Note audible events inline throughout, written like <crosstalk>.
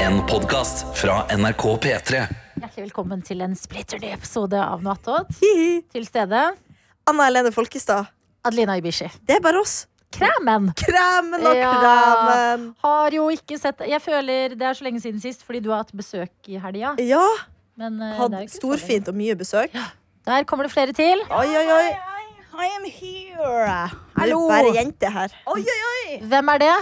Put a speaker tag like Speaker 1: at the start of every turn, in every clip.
Speaker 1: En podcast fra NRK P3
Speaker 2: Hjertelig velkommen til en splitter ny episode av Noe attåt.
Speaker 3: Hihi.
Speaker 2: Til stede
Speaker 3: <laughs> Anna Helene Folkestad.
Speaker 2: Adelina Ibishi.
Speaker 3: Det er bare oss.
Speaker 2: Kremen
Speaker 3: Kremen og
Speaker 2: Ja.
Speaker 3: kremen.
Speaker 2: har jo ikke sett Jeg føler det er så lenge siden sist, fordi du har hatt besøk i helga.
Speaker 3: Ja.
Speaker 2: Men eh, det
Speaker 3: Hadde
Speaker 2: er jo ikke så lenge.
Speaker 3: storfint og mye besøk.
Speaker 2: Der kommer det flere til.
Speaker 3: Oi, oi, oi.
Speaker 4: I am here.
Speaker 3: Det er
Speaker 4: Hallo.
Speaker 3: bare jenter her.
Speaker 4: Oi, oi, oi.
Speaker 2: Hvem er det?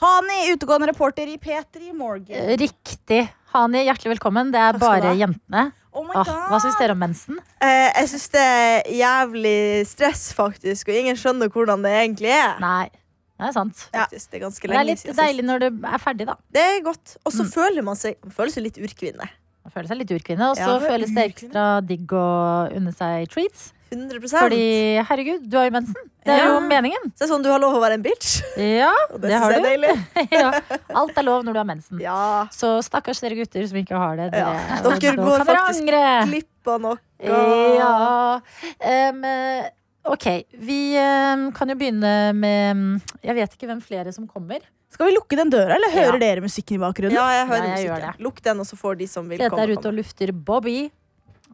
Speaker 4: Hani, utegående reporter i P3 Morgen.
Speaker 2: Eh, Riktig. Hani, hjertelig velkommen. Det er
Speaker 3: Takk skal du
Speaker 2: bare
Speaker 3: ha.
Speaker 2: jentene.
Speaker 4: Oh my
Speaker 2: Ah, hva
Speaker 4: god.
Speaker 2: syns dere om mensen?
Speaker 3: Eh, jeg syns det er jævlig stress, faktisk, og ingen skjønner hvordan det egentlig er.
Speaker 2: Nei, det er sant.
Speaker 3: Faktisk, det er ganske
Speaker 2: Det er
Speaker 3: lenge
Speaker 2: litt
Speaker 3: siden
Speaker 2: deilig Mm.
Speaker 3: sist.
Speaker 2: når det er ferdig, da.
Speaker 3: Det er godt. Og så føler man seg man føler seg litt urkvinne.
Speaker 2: Man føler seg litt urkvinne, og så
Speaker 3: Ja,
Speaker 2: føles det ekstra digg å unne seg treats.
Speaker 3: 100
Speaker 2: Fordi,
Speaker 3: Så
Speaker 2: herregud, du har jo mensen. Det er jo
Speaker 3: Ja.
Speaker 2: meningen.
Speaker 3: det er sånn, Du har lov å være en bitch, <laughs>
Speaker 2: Ja,
Speaker 3: og
Speaker 2: det
Speaker 3: det, synes
Speaker 2: har
Speaker 3: jeg
Speaker 2: du.
Speaker 3: er deilig.
Speaker 2: <laughs> ja. Alt er lov når du har mensen.
Speaker 3: Ja.
Speaker 2: Så stakkars dere gutter som ikke har det. Dere,
Speaker 3: Ja.
Speaker 2: Nå
Speaker 3: Dere
Speaker 2: kan
Speaker 3: går
Speaker 2: dere
Speaker 3: faktisk
Speaker 2: angre.
Speaker 3: Klippa noe.
Speaker 2: Ja. Em, eh, ok, vi em, kan jo begynne med em, Jeg vet ikke hvem flere som kommer.
Speaker 4: Skal vi lukke den døra, eller hører
Speaker 2: Ja.
Speaker 4: dere musikken i bakgrunnen?
Speaker 3: Ja, jeg hører
Speaker 2: Ja, jeg gjør
Speaker 3: musikken. Lukk den, og så får de som vil
Speaker 2: Tete
Speaker 3: komme.
Speaker 2: er ute og
Speaker 3: komme.
Speaker 2: lufter Bobby.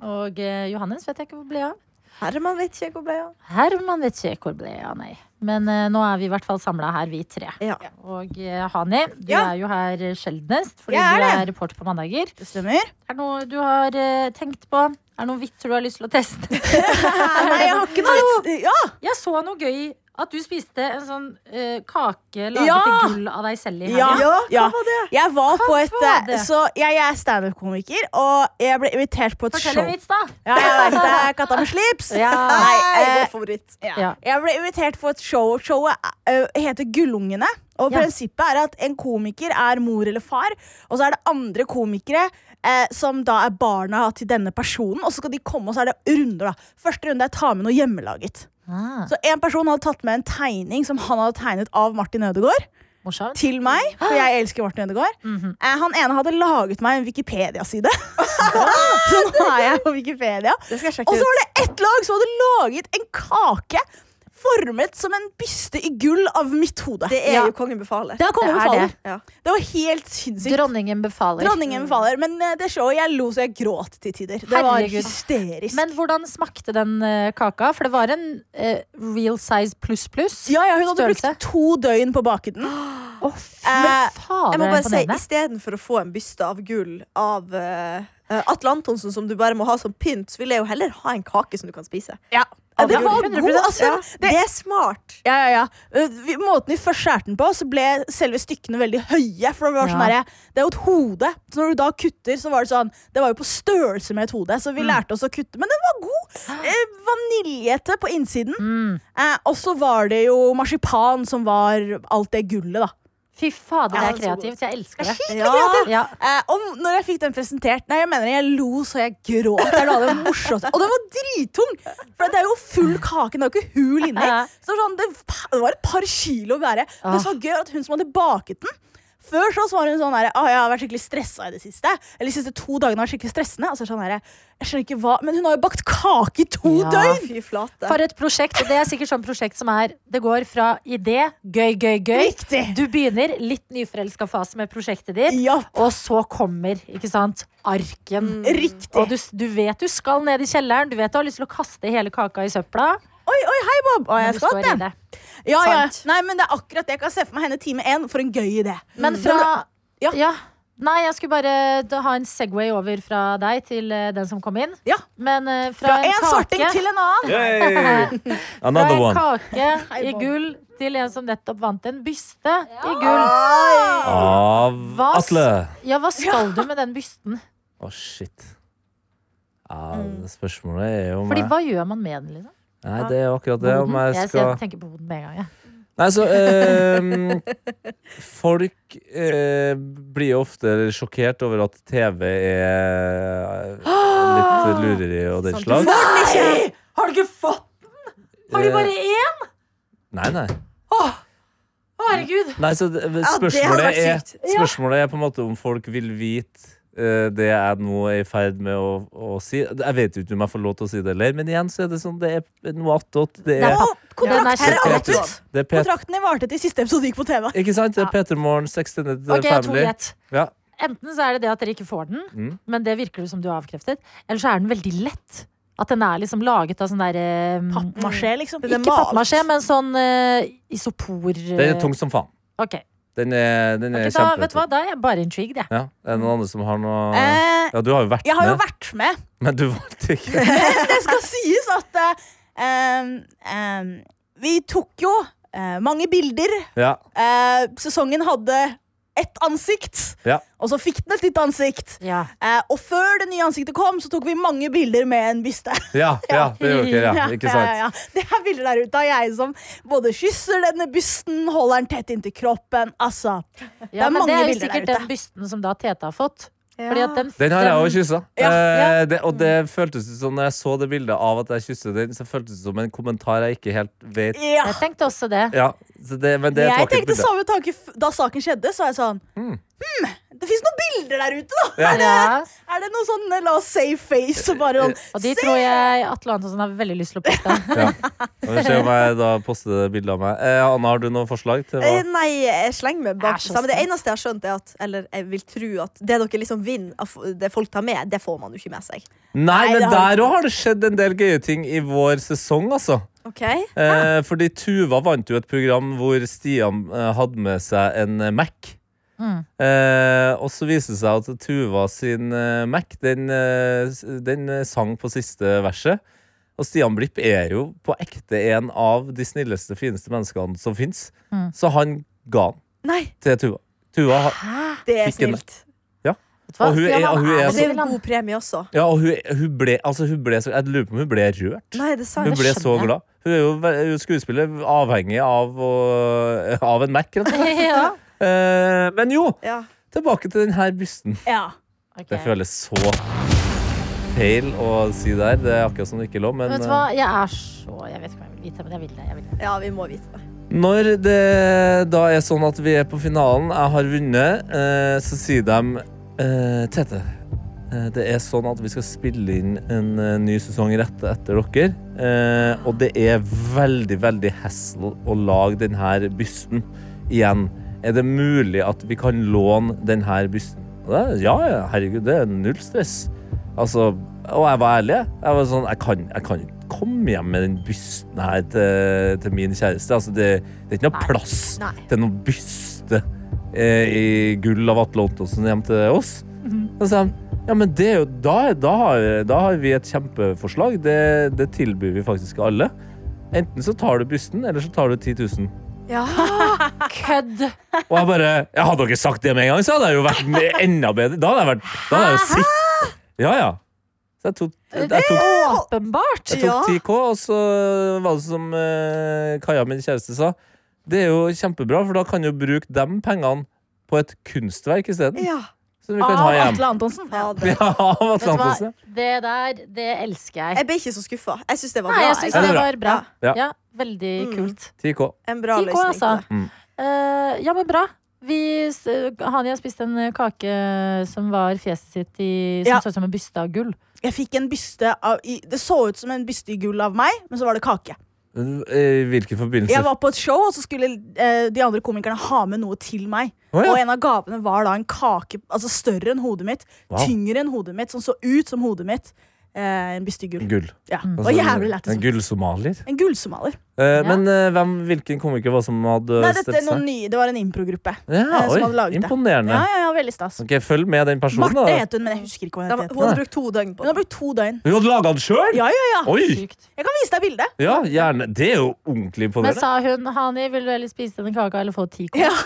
Speaker 2: Og eh, Johannes vet jeg ikke hvor ble av.
Speaker 3: Herman vet ikke hvor ble av.
Speaker 2: Herman vet ikke hvor ble av, nei. Men eh, nå er vi i hvert fall samla her, vi tre.
Speaker 3: Ja.
Speaker 2: Og eh, Hani, du
Speaker 4: Ja.
Speaker 2: er jo her sjeldnest, fordi
Speaker 4: Jeg
Speaker 2: du
Speaker 4: er det.
Speaker 2: er reporter på mandager.
Speaker 4: Det stemmer.
Speaker 2: Er det noe du har eh, tenkt på? Er det noen vitser du har lyst til å teste?
Speaker 4: Nei, jeg har ikke noe Ja,
Speaker 2: <laughs> Jeg så noe gøy at du spiste en sånn eh, kake laget
Speaker 4: Ja!
Speaker 2: i gull av deg selv i helga.
Speaker 4: Ja.
Speaker 3: Ja, hva
Speaker 4: Ja.
Speaker 3: var det?
Speaker 4: jeg var på et
Speaker 2: var det?
Speaker 4: eh, Så jeg, jeg er standup-komiker, og jeg ble invitert på et
Speaker 2: Fortell en
Speaker 4: show.
Speaker 2: vits, da.
Speaker 4: Ja, jeg vet det. Katta med slips.
Speaker 2: Ja.
Speaker 4: Nei, eh,
Speaker 3: vår favoritt.
Speaker 2: Ja.
Speaker 4: Ja. Jeg ble invitert på et show. Showet eh, heter Gullungene. Og
Speaker 2: Ja.
Speaker 4: prinsippet er at en komiker er mor eller far, og så er det andre komikere eh, som da er barna til denne personen, og så skal de komme, og så er det runder, da. Første runde er ta med noe hjemmelaget.
Speaker 2: Ah,
Speaker 4: Så en person hadde tatt med en tegning som han hadde tegnet av Martin Ødegaard,
Speaker 2: morsomt.
Speaker 4: til meg, for jeg elsker Martin Ødegaard. eh, han ene hadde laget meg en Wikipedia-side. <laughs> så nå er jeg på Wikipedia.
Speaker 3: Det skal jeg
Speaker 4: Og
Speaker 3: sjekke
Speaker 4: så
Speaker 3: ut.
Speaker 4: var det ett lag som hadde laget en kake formet som en byste i gull av mitt hode.
Speaker 3: Det er
Speaker 4: Ja.
Speaker 3: jo Kongen befaler.
Speaker 4: det har
Speaker 2: Det
Speaker 4: kommet
Speaker 2: er
Speaker 4: befaler.
Speaker 2: det.
Speaker 3: Ja.
Speaker 4: Det var helt sinnssykt.
Speaker 2: Dronningen befaler.
Speaker 4: Dronningen befaler. Men eh, det showet jeg lo så jeg gråt til tider. Det var
Speaker 2: Herregud.
Speaker 4: hysterisk.
Speaker 2: Men hvordan smakte den eh, kaka? For det var en eh, real size pluss pluss.
Speaker 4: ja, ja, hun hadde
Speaker 2: Størrelse?
Speaker 4: brukt to døgn på å bake den.
Speaker 2: Å, fy
Speaker 4: Eh,
Speaker 3: Jeg
Speaker 2: fader, det
Speaker 3: må
Speaker 2: er
Speaker 3: bare si,
Speaker 2: imponerende.
Speaker 3: Istedenfor å få en byste av gull av eh, eh, Atle Antonsen, som du bare må ha som pynt, så vil jeg jo heller ha en kake som du kan spise.
Speaker 4: Ja, det
Speaker 2: Ja,
Speaker 4: var
Speaker 2: 100%,
Speaker 4: god, altså.
Speaker 3: ja,
Speaker 4: Det,
Speaker 3: det er smart.
Speaker 4: ja, ja, ja. Eh, vi- Måten vi først skjærte den på, så ble selve stykkene veldig høye. For Det var sånn
Speaker 2: Ja.
Speaker 4: herre, det er jo et hode, så når du da kutter, så var det sånn Det var jo på størrelse med et hode, så
Speaker 2: Mm.
Speaker 4: vi lærte oss å kutte. Men den var god!
Speaker 2: <gasps>
Speaker 4: Eh, Vaniljete på innsiden.
Speaker 2: Mm.
Speaker 4: Eh, og så var det jo marsipan som var alt det gullet, da.
Speaker 2: Fy fader, det
Speaker 3: Ja,
Speaker 2: er
Speaker 3: så
Speaker 2: kreativt. Jeg elsker det.
Speaker 3: Ja.
Speaker 2: Ja.
Speaker 4: Eh, og når jeg fikk den presentert Nei, jeg mener det, jeg lo så jeg gråt. Det er noe av det morsomste. Og den var drittung! For det er jo full kake, det er jo ikke hul inni. Så det var sånn, det, det var et par kilo bare. Men det
Speaker 2: Ah.
Speaker 4: som var gøy, var at hun som hadde baket den før så, så var hun sånn her, ah, jeg har vært skikkelig stressa i det siste. Eller de siste to dagene har vært skikkelig stressende. Altså, sånn her, jeg skjønner ikke hva, Men hun har jo bakt kake i to
Speaker 2: Ja.
Speaker 4: døgn!
Speaker 3: Fy flate.
Speaker 2: For et prosjekt. Og det er sikkert sånn prosjekt som er Det går fra idé, gøy, gøy, gøy.
Speaker 4: Riktig.
Speaker 2: Du begynner litt nyforelska fase med prosjektet ditt.
Speaker 4: Ja,
Speaker 2: Og så kommer ikke sant, arken.
Speaker 4: riktig.
Speaker 2: Og du, du vet du skal ned i kjelleren, du vet du har lyst til å kaste hele kaka i søpla.
Speaker 4: Oi, oi, hei, Bob! Å,
Speaker 2: men
Speaker 4: jeg
Speaker 2: du
Speaker 4: skvatt,
Speaker 2: står i
Speaker 4: jeg.
Speaker 2: det.
Speaker 4: Ja, ja.
Speaker 3: Sant.
Speaker 4: Nei, men det er akkurat det jeg kan se for meg henne time én. For en gøy idé.
Speaker 2: Men fra
Speaker 4: Mm. Ja.
Speaker 2: ja. Nei, jeg skulle bare da ha en Segway over fra deg til eh, den som kom inn.
Speaker 4: Ja.
Speaker 2: Men eh, fra,
Speaker 4: Fra
Speaker 2: en
Speaker 4: en
Speaker 2: kake
Speaker 4: svarting til en annen.
Speaker 5: Yay!
Speaker 2: Fra
Speaker 5: <laughs> Another
Speaker 2: en
Speaker 4: <laughs>
Speaker 5: one.
Speaker 2: kake i
Speaker 4: Bob.
Speaker 2: gull til en som nettopp vant en byste i gull.
Speaker 5: Av
Speaker 2: Hva s-
Speaker 5: Atle.
Speaker 2: Ja, hva skal du med den bysten?
Speaker 5: Å, shit. Ja, det spørsmålet er jo om
Speaker 2: Mm. Fordi
Speaker 5: jeg
Speaker 2: hva gjør man med den, liksom?
Speaker 5: Nei, det er jo akkurat det. Om
Speaker 2: Hoden?
Speaker 5: jeg
Speaker 2: Jeg
Speaker 5: skal
Speaker 2: ser- tenker på hoden med en gang, jeg.
Speaker 5: Nei, så
Speaker 2: <laughs>
Speaker 5: ehm, Folk eh, blir jo ofte sjokkert over at TV
Speaker 2: <gasps>
Speaker 5: er litt lureri og
Speaker 2: Sånn
Speaker 5: den slags.
Speaker 4: Nei!
Speaker 2: Har du ikke fått Har
Speaker 5: Eh,
Speaker 2: du bare én?
Speaker 5: Nei, nei.
Speaker 2: Å, herregud.
Speaker 5: Nei, så det-
Speaker 3: hadde
Speaker 5: spørsmålet,
Speaker 3: vært sykt.
Speaker 5: er, spørsmålet er på en måte om folk vil vite eh, det jeg nå er i ferd med å, å si. Jeg vet jo ikke om jeg får lov til å si det eller men igjen så er det sånn, det er noe attåt. Det
Speaker 2: Det er
Speaker 5: er,
Speaker 2: papp.
Speaker 4: Og kontrakt
Speaker 2: Den er
Speaker 4: her er alt
Speaker 5: Peter-
Speaker 4: ut.
Speaker 5: det er Pet-
Speaker 2: Mm.
Speaker 4: Kontrakten din varte til siste episode gikk på TV.
Speaker 5: Ikke sant? Det er Peter Morn, 16.
Speaker 2: Ok, to
Speaker 5: Family.
Speaker 2: gjett.
Speaker 5: Ja.
Speaker 2: Enten så er det det at dere ikke får den,
Speaker 5: Mm.
Speaker 2: men det virker det som du har avkreftet. Eller så er den veldig lett. At den er liksom laget av sånn der eh,
Speaker 4: Pappmasjé, liksom.
Speaker 3: Den er
Speaker 2: Ikke
Speaker 3: malt.
Speaker 2: pappmasjé, men sånn eh, isopor eh,
Speaker 5: Den er tung som faen.
Speaker 2: Ok,
Speaker 5: Den er, den er
Speaker 2: Ok, da, vet du hva?
Speaker 5: kjempetung.
Speaker 2: da er jeg bare intrigued, jeg.
Speaker 5: Ja, er det noen andre som har noe
Speaker 4: Eh,
Speaker 5: Ja, du har jo vært
Speaker 4: jeg har jo
Speaker 5: med,
Speaker 4: vært med. <laughs>
Speaker 5: men du valgte ikke.
Speaker 4: Det skal sies at eh, em, vi tok jo eh, mange bilder.
Speaker 5: Ja,
Speaker 4: Eh, sesongen hadde ett ansikt,
Speaker 5: ja.
Speaker 4: og så fikk den et nytt ansikt.
Speaker 2: Ja.
Speaker 4: Eh, og før det nye ansiktet kom, så tok vi mange bilder med en byste.
Speaker 5: Ja, ja, det gjorde dere. Ja,
Speaker 4: <laughs>
Speaker 5: ikke
Speaker 4: Ja, ja,
Speaker 5: sant?
Speaker 4: ja. Det er bilder der ute av jeg som både kysser denne bysten, holder den tett inntil kroppen. Altså,
Speaker 2: Ja,
Speaker 4: er
Speaker 2: men
Speaker 4: mange
Speaker 2: det er jo
Speaker 4: bilder der
Speaker 2: sikkert
Speaker 4: ute.
Speaker 2: den bysten som da Tete har fått. Fordi at den,
Speaker 5: Den har jeg òg kyssa.
Speaker 4: Ja,
Speaker 5: Eh, det- og det føltes ut som når jeg så det bildet av at jeg kysset den, så føltes det som en kommentar jeg ikke helt vet
Speaker 4: ja.
Speaker 2: Jeg tenkte også det.
Speaker 5: Ja, så det, men det er et
Speaker 4: Jeg
Speaker 5: vakkert
Speaker 4: tenkte sånn.
Speaker 5: bilde. Mm.
Speaker 4: samme tanke f- da saken skjedde. Så var jeg sånn hmm. Det fins noen bilder der ute, da!
Speaker 5: Ja.
Speaker 2: Ja.
Speaker 4: Er det noe sånn eh, la oss save face? Og bare
Speaker 5: Eh,
Speaker 4: sånn,
Speaker 2: Og de
Speaker 4: se!
Speaker 2: tror jeg Atle Antonsen har veldig lyst til å poste.
Speaker 5: Ja. Og Vi får se om jeg da poster det bildet av meg. Eh, Anna, har du noen forslag? til
Speaker 3: Eh,
Speaker 5: hva?
Speaker 3: Nei, jeg slenger meg bak
Speaker 2: Er så
Speaker 3: det samme. Det
Speaker 2: snilt.
Speaker 3: eneste jeg har skjønt, er at Eller jeg vil tro at det dere liksom vinner, av f- det folk tar med, det får man jo ikke med seg.
Speaker 5: Nei, men
Speaker 4: det har-
Speaker 5: der òg har det skjedd en del gøye ting i vår sesong, altså.
Speaker 3: Ok
Speaker 5: Eh, fordi Tuva vant jo et program hvor Stian eh, hadde med seg en eh, Mac.
Speaker 2: Mm.
Speaker 5: Eh, og så viste det seg at Tuva sin eh, Mac den, eh, s- den eh, sang på siste verset. Og Stian Blipp er jo på ekte en av de snilleste, fineste menneskene som fins.
Speaker 2: Mm.
Speaker 5: Så han ga den
Speaker 3: Nei,
Speaker 5: til Tuva. Tuva har-
Speaker 3: det er
Speaker 5: Fikk en-
Speaker 3: snilt.
Speaker 2: Vet du hva?
Speaker 5: Og hun er-
Speaker 2: Stian, han
Speaker 5: og hun er
Speaker 2: jo
Speaker 3: Og det er jo
Speaker 2: vill, han.
Speaker 3: en god premie også.
Speaker 5: ja, og hun, hun, ble, altså, hun ble så Jeg lurer på om hun ble rørt.
Speaker 3: Nei, det er sant.
Speaker 5: Hun
Speaker 2: det
Speaker 5: ble så
Speaker 2: skjønner jeg.
Speaker 5: glad. Hun er jo ve- hun er skuespiller avhengig av, å, <laughs> av en Mac, rett og slett.
Speaker 2: <laughs> <laughs> ja.
Speaker 5: Eh, men jo,
Speaker 3: Ja.
Speaker 5: tilbake til denne bysten.
Speaker 4: Ja.
Speaker 2: Ok.
Speaker 5: Det føles så feil å si der. Det er akkurat som det ikke er lov, men
Speaker 2: Vet du hva, jeg er så Jeg vet ikke om jeg vil vite, men jeg vil det. Jeg vil det.
Speaker 3: ja, vi må vite det.
Speaker 5: eh, når det da er sånn at vi er på finalen, jeg har vunnet, eh, så sier de eh, Tete, eh, det er sånn at vi skal spille inn en eh, ny sesong rett etter dere. Eh, og det er veldig, veldig hassle å lage denne bysten igjen. Er det mulig at vi kan låne denne bysten? Og det er, Ja, ja, herregud, det er null stress. Altså, og jeg var ærlig. Jeg var sånn, jeg kan, jeg kan ikke komme hjem med den bysten her til, til min kjæreste. Altså, det, det er ikke noe plass
Speaker 3: Nei.
Speaker 5: til noen byste eh, i gull av Atle Ottosen hjem til oss. Da sa han, ja, men det er jo, da, da, har, da har vi et kjempeforslag. Det, det tilbyr vi faktisk alle. Enten så tar du bysten, eller så tar du 10 000.
Speaker 2: Kødd!
Speaker 5: Og jeg bare jeg Hadde dere sagt det med en gang, så hadde jeg jo vært med- enda bedre. Da hadde jeg vært da hadde jeg jo sitt. Ja, ja. Så jeg tok, jeg tok,
Speaker 2: Åpenbart!
Speaker 5: jeg tok 10K, og så var det som eh, Kaja, min kjæreste, sa. Det er jo kjempebra, for da kan du bruke de pengene på et kunstverk isteden.
Speaker 3: Ja.
Speaker 5: Som vi kan ha hjem.
Speaker 4: Atle Antonsen.
Speaker 3: Ha det.
Speaker 5: <laughs> Ja,
Speaker 2: Vet
Speaker 5: av
Speaker 2: du
Speaker 5: Atlantis.
Speaker 2: hva, det der, det elsker jeg.
Speaker 3: Jeg ble ikke så skuffa. Jeg syns det var
Speaker 2: Nei,
Speaker 3: bra.
Speaker 2: jeg syns
Speaker 5: Er det
Speaker 2: det
Speaker 5: bra?
Speaker 2: var bra.
Speaker 5: Ja.
Speaker 2: Ja, veldig
Speaker 3: Mm.
Speaker 2: kult.
Speaker 5: 10K.
Speaker 3: En bra
Speaker 2: 10K,
Speaker 3: løsning.
Speaker 2: altså.
Speaker 3: på det.
Speaker 5: Mm.
Speaker 2: Eh, ja, men bra. Vi, s- eh, Hania spiste en kake som var fjeset sitt i Som
Speaker 4: Ja.
Speaker 2: så ut som en byste av gull.
Speaker 4: Jeg fikk en byste av i, Det så ut som en byste i gull av meg, men så var det kake.
Speaker 5: Eh, I hvilken forbindelse?
Speaker 4: Jeg var på et show, og så skulle eh, de andre komikerne ha med noe til meg.
Speaker 5: Å, ja.
Speaker 4: Og en av gavene var da en kake altså større enn hodet mitt,
Speaker 5: Wow.
Speaker 4: tyngre enn hodet mitt, som så ut som hodet mitt. Eh, en byste i gull.
Speaker 5: Gull.
Speaker 4: Ja. Og jævlig lættis.
Speaker 5: Altså, En gullsomalier.
Speaker 4: En gullsomalier.
Speaker 2: Ja.
Speaker 5: Eh, Men eh, hvem, hvilken komiker var det som hadde
Speaker 4: Nei, dette er
Speaker 5: steppet
Speaker 4: noen
Speaker 5: seg?
Speaker 4: nye, det var en improgruppe.
Speaker 5: Ja,
Speaker 4: eh, som
Speaker 5: oi,
Speaker 4: hadde laget det.
Speaker 5: imponerende.
Speaker 4: Ja, ja, ja, veldig stas.
Speaker 5: Ok, Følg med den
Speaker 4: Marte
Speaker 5: personen. da
Speaker 4: het hun, men jeg husker ikke hva
Speaker 3: Da,
Speaker 4: hun het.
Speaker 3: hun hadde brukt to døgn på
Speaker 4: Hun har
Speaker 3: det.
Speaker 4: brukt to døgn.
Speaker 5: Hun hadde laga den sjøl!
Speaker 4: Ja, ja, ja.
Speaker 5: Oi!
Speaker 2: Sykt.
Speaker 4: Jeg kan vise deg bildet.
Speaker 5: Ja, gjerne. Det er jo ordentlig
Speaker 2: Men
Speaker 5: imponerende.
Speaker 2: sa hun Hani, vil du heller spise denne kaka eller få ti kår?
Speaker 4: Ja.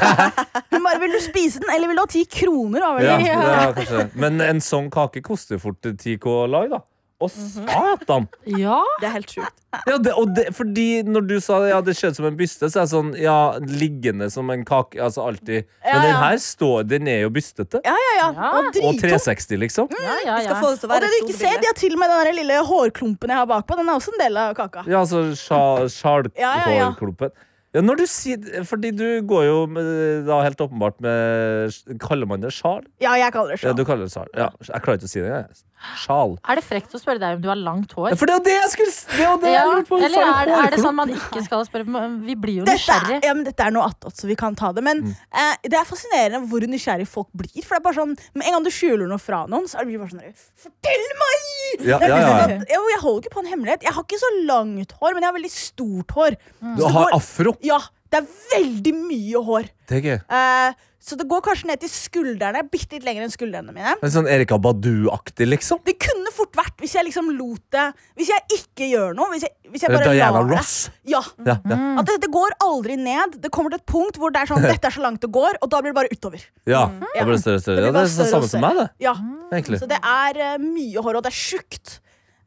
Speaker 4: Hun bare, Vil du spise den, eller vil du ha ti kroner? Av
Speaker 5: Ja,
Speaker 4: <laughs> den?
Speaker 5: ja, kanskje. Men en sånn kake koster jo fort 10K å lage, da. Å,
Speaker 4: Mhm.
Speaker 5: satan!
Speaker 2: Ja,
Speaker 3: Det er helt sjukt.
Speaker 5: Ja, det, og det, fordi når du sa ja, det skjedde som en byste, så er jeg sånn Ja, liggende som en kake. Altså alltid. Men
Speaker 4: Ja,
Speaker 5: den
Speaker 4: ja.
Speaker 5: her står Den er jo bystete.
Speaker 4: ja, ja.
Speaker 2: Ja.
Speaker 4: Og
Speaker 5: Og
Speaker 4: drittung.
Speaker 5: 360, liksom.
Speaker 2: ja, ja.
Speaker 3: Vi skal
Speaker 2: ja.
Speaker 3: få det til å være
Speaker 4: Og det du ikke ser, de har til og med den der lille hårklumpen jeg har bakpå. Den er også en del av kaka.
Speaker 5: Ja, altså sja-
Speaker 4: Ja, ja, ja.
Speaker 5: sjalkhårklumpen. Ja, Ja, når du sier, fordi du går jo med, da helt åpenbart med Kaller man det sjal?
Speaker 4: Ja, jeg kaller det
Speaker 5: Ja,
Speaker 4: sjal.
Speaker 5: du kaller det sjal. Ja, jeg klarer ikke å si det engang. Sjal.
Speaker 2: Er det frekt å spørre deg om du har langt
Speaker 5: Ja,
Speaker 2: hår?
Speaker 5: For det er jo det jeg skulle s- Det er jo det jeg
Speaker 2: Ja,
Speaker 5: lurer på!
Speaker 2: eller
Speaker 5: Sa
Speaker 2: er,
Speaker 5: du
Speaker 2: er det
Speaker 5: hårklo?
Speaker 2: sånn man ikke skal spørre? Men Vi blir jo
Speaker 4: Dette er,
Speaker 2: nysgjerrig.
Speaker 4: ja, men dette er noe attåt, så vi kan ta det. Men
Speaker 5: Mm.
Speaker 4: eh, det er fascinerende hvor nysgjerrig folk blir. For det er bare sånn, Med en gang du skjuler noe fra noen, så er det bare sånn Fortell meg!
Speaker 5: Ja,
Speaker 4: Det er
Speaker 5: ja,
Speaker 4: liksom <laughs>
Speaker 5: ja.
Speaker 4: at- jo, jeg holder ikke på en hemmelighet. Jeg har ikke så langt hår, men jeg har veldig stort hår. Så
Speaker 5: Du
Speaker 4: det
Speaker 5: har
Speaker 4: går-
Speaker 5: afro.
Speaker 4: Ja, det er veldig mye hår.
Speaker 5: Det er gøy.
Speaker 4: Eh, så det går kanskje ned til skuldrene. Bitte litt lenger enn skuldrene mine.
Speaker 5: Men sånn Erika Badu-aktig, liksom.
Speaker 4: Det kunne fort vært hvis jeg liksom lot det Hvis jeg ikke gjør noe. Hvis jeg, hvis jeg
Speaker 5: Eller
Speaker 4: bare
Speaker 5: Diana
Speaker 4: lar det.
Speaker 5: Ross.
Speaker 4: Ja.
Speaker 5: Ja, ja.
Speaker 4: At det, det går aldri ned. Det kommer til et punkt hvor det er sånn Dette er så langt det går, og da blir det bare utover.
Speaker 5: ja. Det ble større og større.
Speaker 4: Mm. blir
Speaker 5: Ja, det
Speaker 4: bare
Speaker 5: er det
Speaker 4: større
Speaker 5: samme
Speaker 4: og
Speaker 5: som meg, det.
Speaker 4: Ja.
Speaker 5: Egentlig.
Speaker 4: Så det er eh, mye hår, og det er tjukt.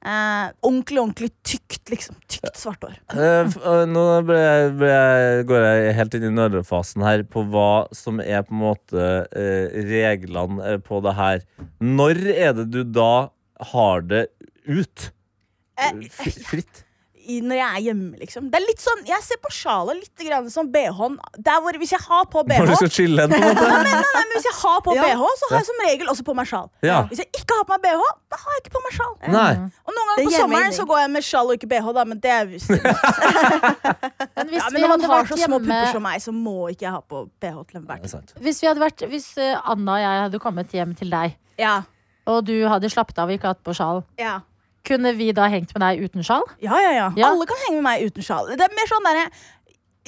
Speaker 4: Eh, ordentlig, ordentlig tykt, liksom. Tykt svart hår.
Speaker 5: Eh, f- eh, Nå ble jeg, ble jeg, går jeg helt inn i nødrefasen her på hva som er på en måte eh, reglene eh, på det her. Når er det du da har det ut?
Speaker 4: Eh,
Speaker 5: Fri- Fritt?
Speaker 4: i, når jeg er hjemme, liksom. Det er litt sånn, Jeg ser på sjalet litt grann som BH-en. Der hvor, hvis jeg har på BH
Speaker 5: Når du skal chille en,
Speaker 4: <laughs>
Speaker 5: på en måte?
Speaker 4: Nei, nei, nei, men Hvis jeg har på
Speaker 3: Ja.
Speaker 4: BH, så har jeg som regel også på meg sjal.
Speaker 5: Ja.
Speaker 4: Hvis jeg ikke har på meg BH, da har jeg ikke på meg sjal.
Speaker 5: Nei.
Speaker 4: Og noen
Speaker 3: Det
Speaker 4: ganger på
Speaker 3: gir
Speaker 4: sommeren
Speaker 3: mening.
Speaker 4: så går jeg med sjal og ikke BH, da, men det er visst
Speaker 2: Men hvis
Speaker 4: ja,
Speaker 2: vi
Speaker 4: Men når man
Speaker 2: hadde
Speaker 4: har
Speaker 2: vært
Speaker 4: så små
Speaker 2: hjemme
Speaker 4: pupper som meg, så må ikke jeg ha på BH til enhver
Speaker 5: Det er
Speaker 4: tid.
Speaker 5: sant.
Speaker 2: Hvis, vi hadde vært, hvis eh, Anna og jeg hadde kommet hjem til deg,
Speaker 4: Ja.
Speaker 2: og du hadde slappet av og ikke hatt på sjal,
Speaker 4: Ja.
Speaker 2: kunne vi da hengt med deg uten sjal?
Speaker 4: Ja, ja, ja,
Speaker 2: Ja.
Speaker 4: Alle kan henge med meg uten sjal. Det er mer sånn derre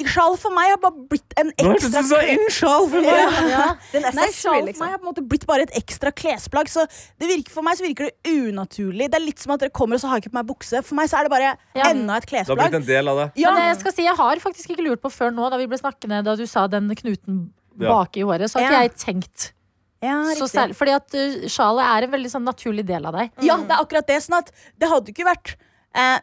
Speaker 4: Sjal for meg har bare blitt en
Speaker 5: Nå hørtes
Speaker 4: ekstra
Speaker 5: det så innsjal for meg!
Speaker 4: Ja.
Speaker 3: Den
Speaker 4: Nei,
Speaker 3: accessory,
Speaker 4: sjal for
Speaker 3: liksom.
Speaker 4: meg har på en måte blitt bare et ekstra klesplagg. Så det virker, For meg så virker det unaturlig. Det er litt som at dere kommer og så har jeg ikke på meg bukse. For meg så er det bare
Speaker 2: Ja.
Speaker 4: enda et
Speaker 5: Det har blitt
Speaker 4: klesplagg.
Speaker 5: en del av det.
Speaker 4: <laughs> Ja,
Speaker 2: Men jeg skal si, jeg har faktisk ikke lurt på før nå, da vi ble snakkende, da du sa den knuten
Speaker 5: Ja.
Speaker 2: bak i håret, så har ikke
Speaker 4: Ja.
Speaker 2: jeg tenkt
Speaker 4: ja,
Speaker 2: så
Speaker 4: riktig.
Speaker 2: særlig. Fordi at eh, sjalet er en veldig sånn naturlig del av deg.
Speaker 3: Mm.
Speaker 4: ja, det er akkurat det. Sånn at det hadde ikke vært eh,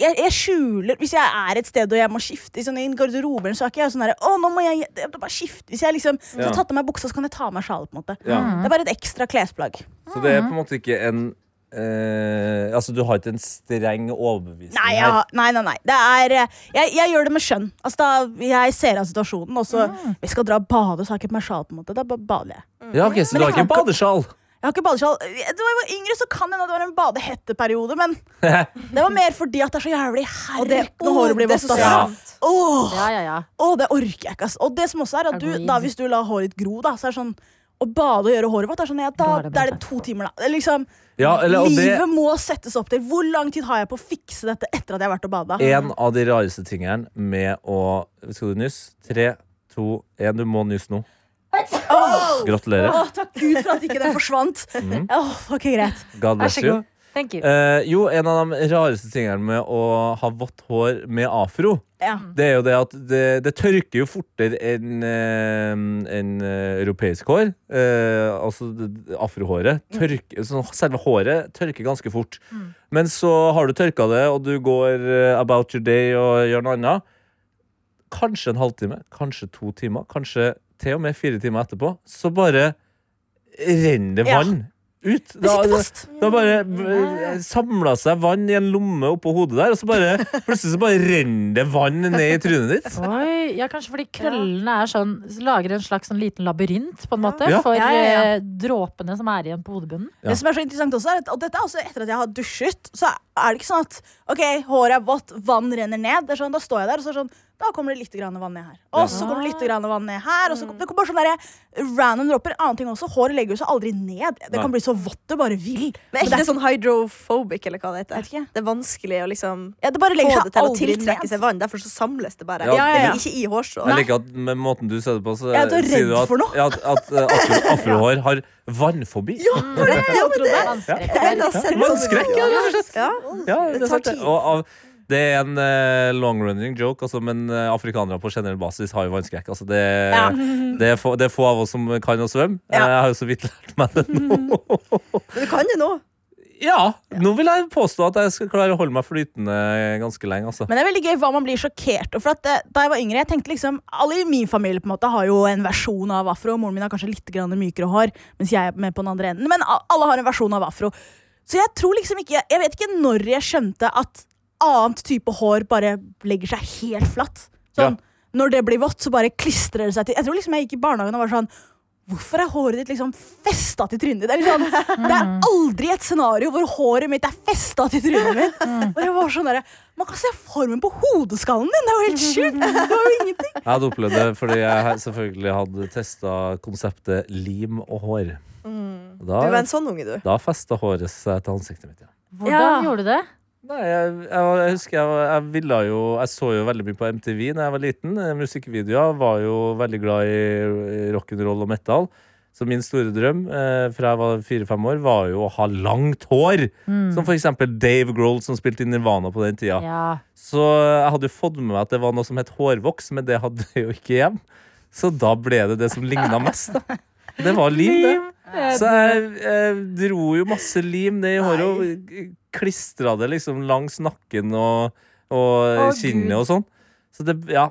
Speaker 4: jeg, jeg skjuler Hvis jeg er et sted og jeg må skifte i, sånn, i en garderobe, så er ikke jeg sånn der, Å, nå må jeg, jeg må bare skifte. Hvis jeg liksom så
Speaker 5: Ja.
Speaker 4: tatt av meg buksa, så kan jeg ta av meg sjalet. på en måte
Speaker 5: Ja.
Speaker 3: Mm.
Speaker 4: Det er bare et ekstra klesplagg.
Speaker 5: Så det er på en måte ikke en eh, Altså, du har ikke en streng overbevisning
Speaker 4: Nei, jeg,
Speaker 5: her.
Speaker 4: har- nei, nei, nei. Det er, eh, jeg, jeg gjør det med skjønn. Altså, da, jeg ser av situasjonen, og så
Speaker 3: Mm.
Speaker 4: Vi skal dra og bade, så har jeg ikke på meg sjal. på en måte Da bare bader jeg.
Speaker 5: Ja, ok, Så
Speaker 4: Men
Speaker 5: du har
Speaker 4: jeg
Speaker 5: ikke
Speaker 4: kan
Speaker 5: badesjal?
Speaker 4: Jeg har ikke badesjal Da jeg var yngre, så kan det hende det var en badehetteperiode, men det var mer fordi at det er så jævlig
Speaker 3: Og det,
Speaker 4: herk når håret blir
Speaker 3: det er
Speaker 4: vått.
Speaker 3: så
Speaker 4: ass.
Speaker 5: Ja.
Speaker 3: sant.
Speaker 4: Åh,
Speaker 2: Ja, ja, ja.
Speaker 4: åh, det orker jeg ikke. ass. Og det som også er at du,
Speaker 2: Agreed.
Speaker 4: da, hvis du lar håret ditt gro, da, så er det sånn å bade og gjøre håret vått, det er sånn, ja,
Speaker 2: Da
Speaker 4: da,
Speaker 2: er det
Speaker 4: da er
Speaker 2: bedre.
Speaker 4: det to timer, da. Det er Liksom,
Speaker 5: Ja, eller, og det
Speaker 4: livet må settes opp til. Hvor lang tid har jeg på å fikse dette etter at jeg har vært og bada?
Speaker 5: En av de rareste tingene med å Skal du nysse? Tre, to, én. Du må nysse nå. Gratulerer. Mm,
Speaker 4: Åh, takk Gud for at ikke det forsvant. Åh, ok, greit.
Speaker 5: God
Speaker 2: Vær
Speaker 5: bless
Speaker 2: så
Speaker 5: you.
Speaker 2: god. Thank you.
Speaker 5: Eh, jo, en av de rareste tingene med å ha vått hår med afro,
Speaker 4: Ja.
Speaker 5: det er jo det at det, det tørker jo fortere enn eh, enn, eh, europeisk hår. Eh, altså det- det- afrohåret.
Speaker 4: Mm.
Speaker 5: Tørk, sånn, selve håret tørker ganske fort. Men så har du tørka det, og du går eh, about your day og gjør noe annet. Kanskje en halvtime, kanskje to timer, kanskje til og med fire timer etterpå. Så bare renner det
Speaker 4: Ja.
Speaker 5: vann ut.
Speaker 4: Det sitter fast. Mm.
Speaker 5: Da bare b- samla eh, seg vann i en lomme oppå hodet der, og så bare, plutselig så bare renner det vann ned i trynet ditt.
Speaker 2: Oi, ja, Kanskje fordi krøllene er sånn, lager en slags sånn liten labyrint på en måte,
Speaker 5: Ja.
Speaker 2: for
Speaker 4: Ja, ja, ja.
Speaker 2: eh, dråpene som er igjen på hodebunnen.
Speaker 5: Ja.
Speaker 4: Det som er så interessant også er at, Og dette er også etter at jeg har dusjet. Så er det ikke sånn at ok, håret er vått, vann renner ned. Det er sånn, da står jeg der, og så er det sånn Da kommer det litt grann vann ned her. Og så kommer det litt grann vann ned her. Og så kom, det kommer bare sånne der eh, random dropper. Annen ting også, Håret legger jo seg aldri ned. Det
Speaker 5: Nei.
Speaker 4: kan bli så vått det bare
Speaker 3: Men er
Speaker 4: vil. Men det
Speaker 3: ikke
Speaker 4: er-
Speaker 3: det sånn hydrophobic, eller hva det heter?
Speaker 4: Jeg vet ikke.
Speaker 3: Det er vanskelig å liksom
Speaker 4: Ja, det bare
Speaker 3: få
Speaker 4: legger
Speaker 3: det
Speaker 4: seg
Speaker 3: til å
Speaker 4: aldri
Speaker 3: tiltrekke seg
Speaker 4: ned.
Speaker 3: vann. Derfor så samles det bare.
Speaker 5: Ja,
Speaker 4: ja,
Speaker 3: Det
Speaker 4: ja.
Speaker 3: blir ikke i hårstrået.
Speaker 5: Jeg liker at med måten du sier det på, så
Speaker 4: Jeg er så
Speaker 5: sier du
Speaker 4: redd
Speaker 5: at,
Speaker 4: for noe.
Speaker 5: ja, at, at eh, afro, afrohår har vannfobi. Ja,
Speaker 3: Eller sett sånn
Speaker 5: Vannskrekk,
Speaker 3: ut.
Speaker 5: ja, rett og slett.
Speaker 3: Ja.
Speaker 5: Ja,
Speaker 3: Det
Speaker 5: det er
Speaker 3: tar
Speaker 5: sant det.
Speaker 3: tid.
Speaker 5: Og av, det er en eh, long-running joke, altså, men eh, afrikanere på generell basis har jo vannskrekk. Altså, det,
Speaker 4: Ja.
Speaker 5: det, er få, det er få av oss som kan å svømme. Eh,
Speaker 4: Ja.
Speaker 5: Jeg har jo så vidt lært meg det nå.
Speaker 4: <laughs>
Speaker 3: Men du kan det nå.
Speaker 5: Ja, nå vil jeg påstå at jeg skal klare å holde meg flytende ganske lenge. Altså.
Speaker 4: Men det er veldig gøy hva man blir sjokkert over. For at, eh, da jeg var yngre, jeg tenkte liksom Alle i min familie på en måte har jo en versjon av afro. Moren min har kanskje litt grann mykere hår, mens jeg er med på den andre enden. Men a- alle har en versjon av afro. Så jeg tror liksom ikke Jeg vet ikke når jeg skjønte at annet type hår bare legger seg helt flatt.
Speaker 5: Ja.
Speaker 4: Sånn, Når det blir vått, så bare klistrer det seg til. Jeg tror liksom jeg gikk i barnehagen og var sånn Hvorfor er håret ditt liksom festa til trynet ditt? Det er, liksom, det er aldri et scenario hvor håret mitt er festa til trynet mitt.
Speaker 3: Mm.
Speaker 4: Og jeg var sånn der, Man kan se formen på hodeskallen din! Det er jo helt sjukt! Det var jo ingenting.
Speaker 5: Jeg hadde opplevd det fordi jeg he- selvfølgelig hadde testa konseptet lim og hår.
Speaker 3: Du er
Speaker 5: Da,
Speaker 3: en sånn unge, du.
Speaker 5: da festa håret seg til ansiktet mitt. Ja.
Speaker 2: Hvordan
Speaker 4: Ja.
Speaker 2: gjorde du det?
Speaker 5: Nei, jeg, jeg, var- jeg husker jeg, var- jeg ville jo Jeg så jo veldig mye på MTV da jeg var liten. Eh, Musikkvideoer. Var jo veldig glad i i rock'n'roll og metal. Så min store drøm eh, fra jeg var fire-fem år, var jo å ha langt hår!
Speaker 3: Mm.
Speaker 5: Som for eksempel Dave Grohl, som spilte i Nirvana på den tida.
Speaker 2: Ja.
Speaker 5: Så jeg hadde jo fått med meg at det var noe som het hårvoks, men det hadde jeg jo ikke hjem. Så da ble det det som ligna mest, da. Det var lim, det.
Speaker 2: Eh,
Speaker 5: Så jeg, jeg dro jo masse lim ned i håret og klistra det liksom langs nakken og, og
Speaker 2: Å,
Speaker 5: kinnet
Speaker 2: Gud.
Speaker 5: og sånn. Så det, ja.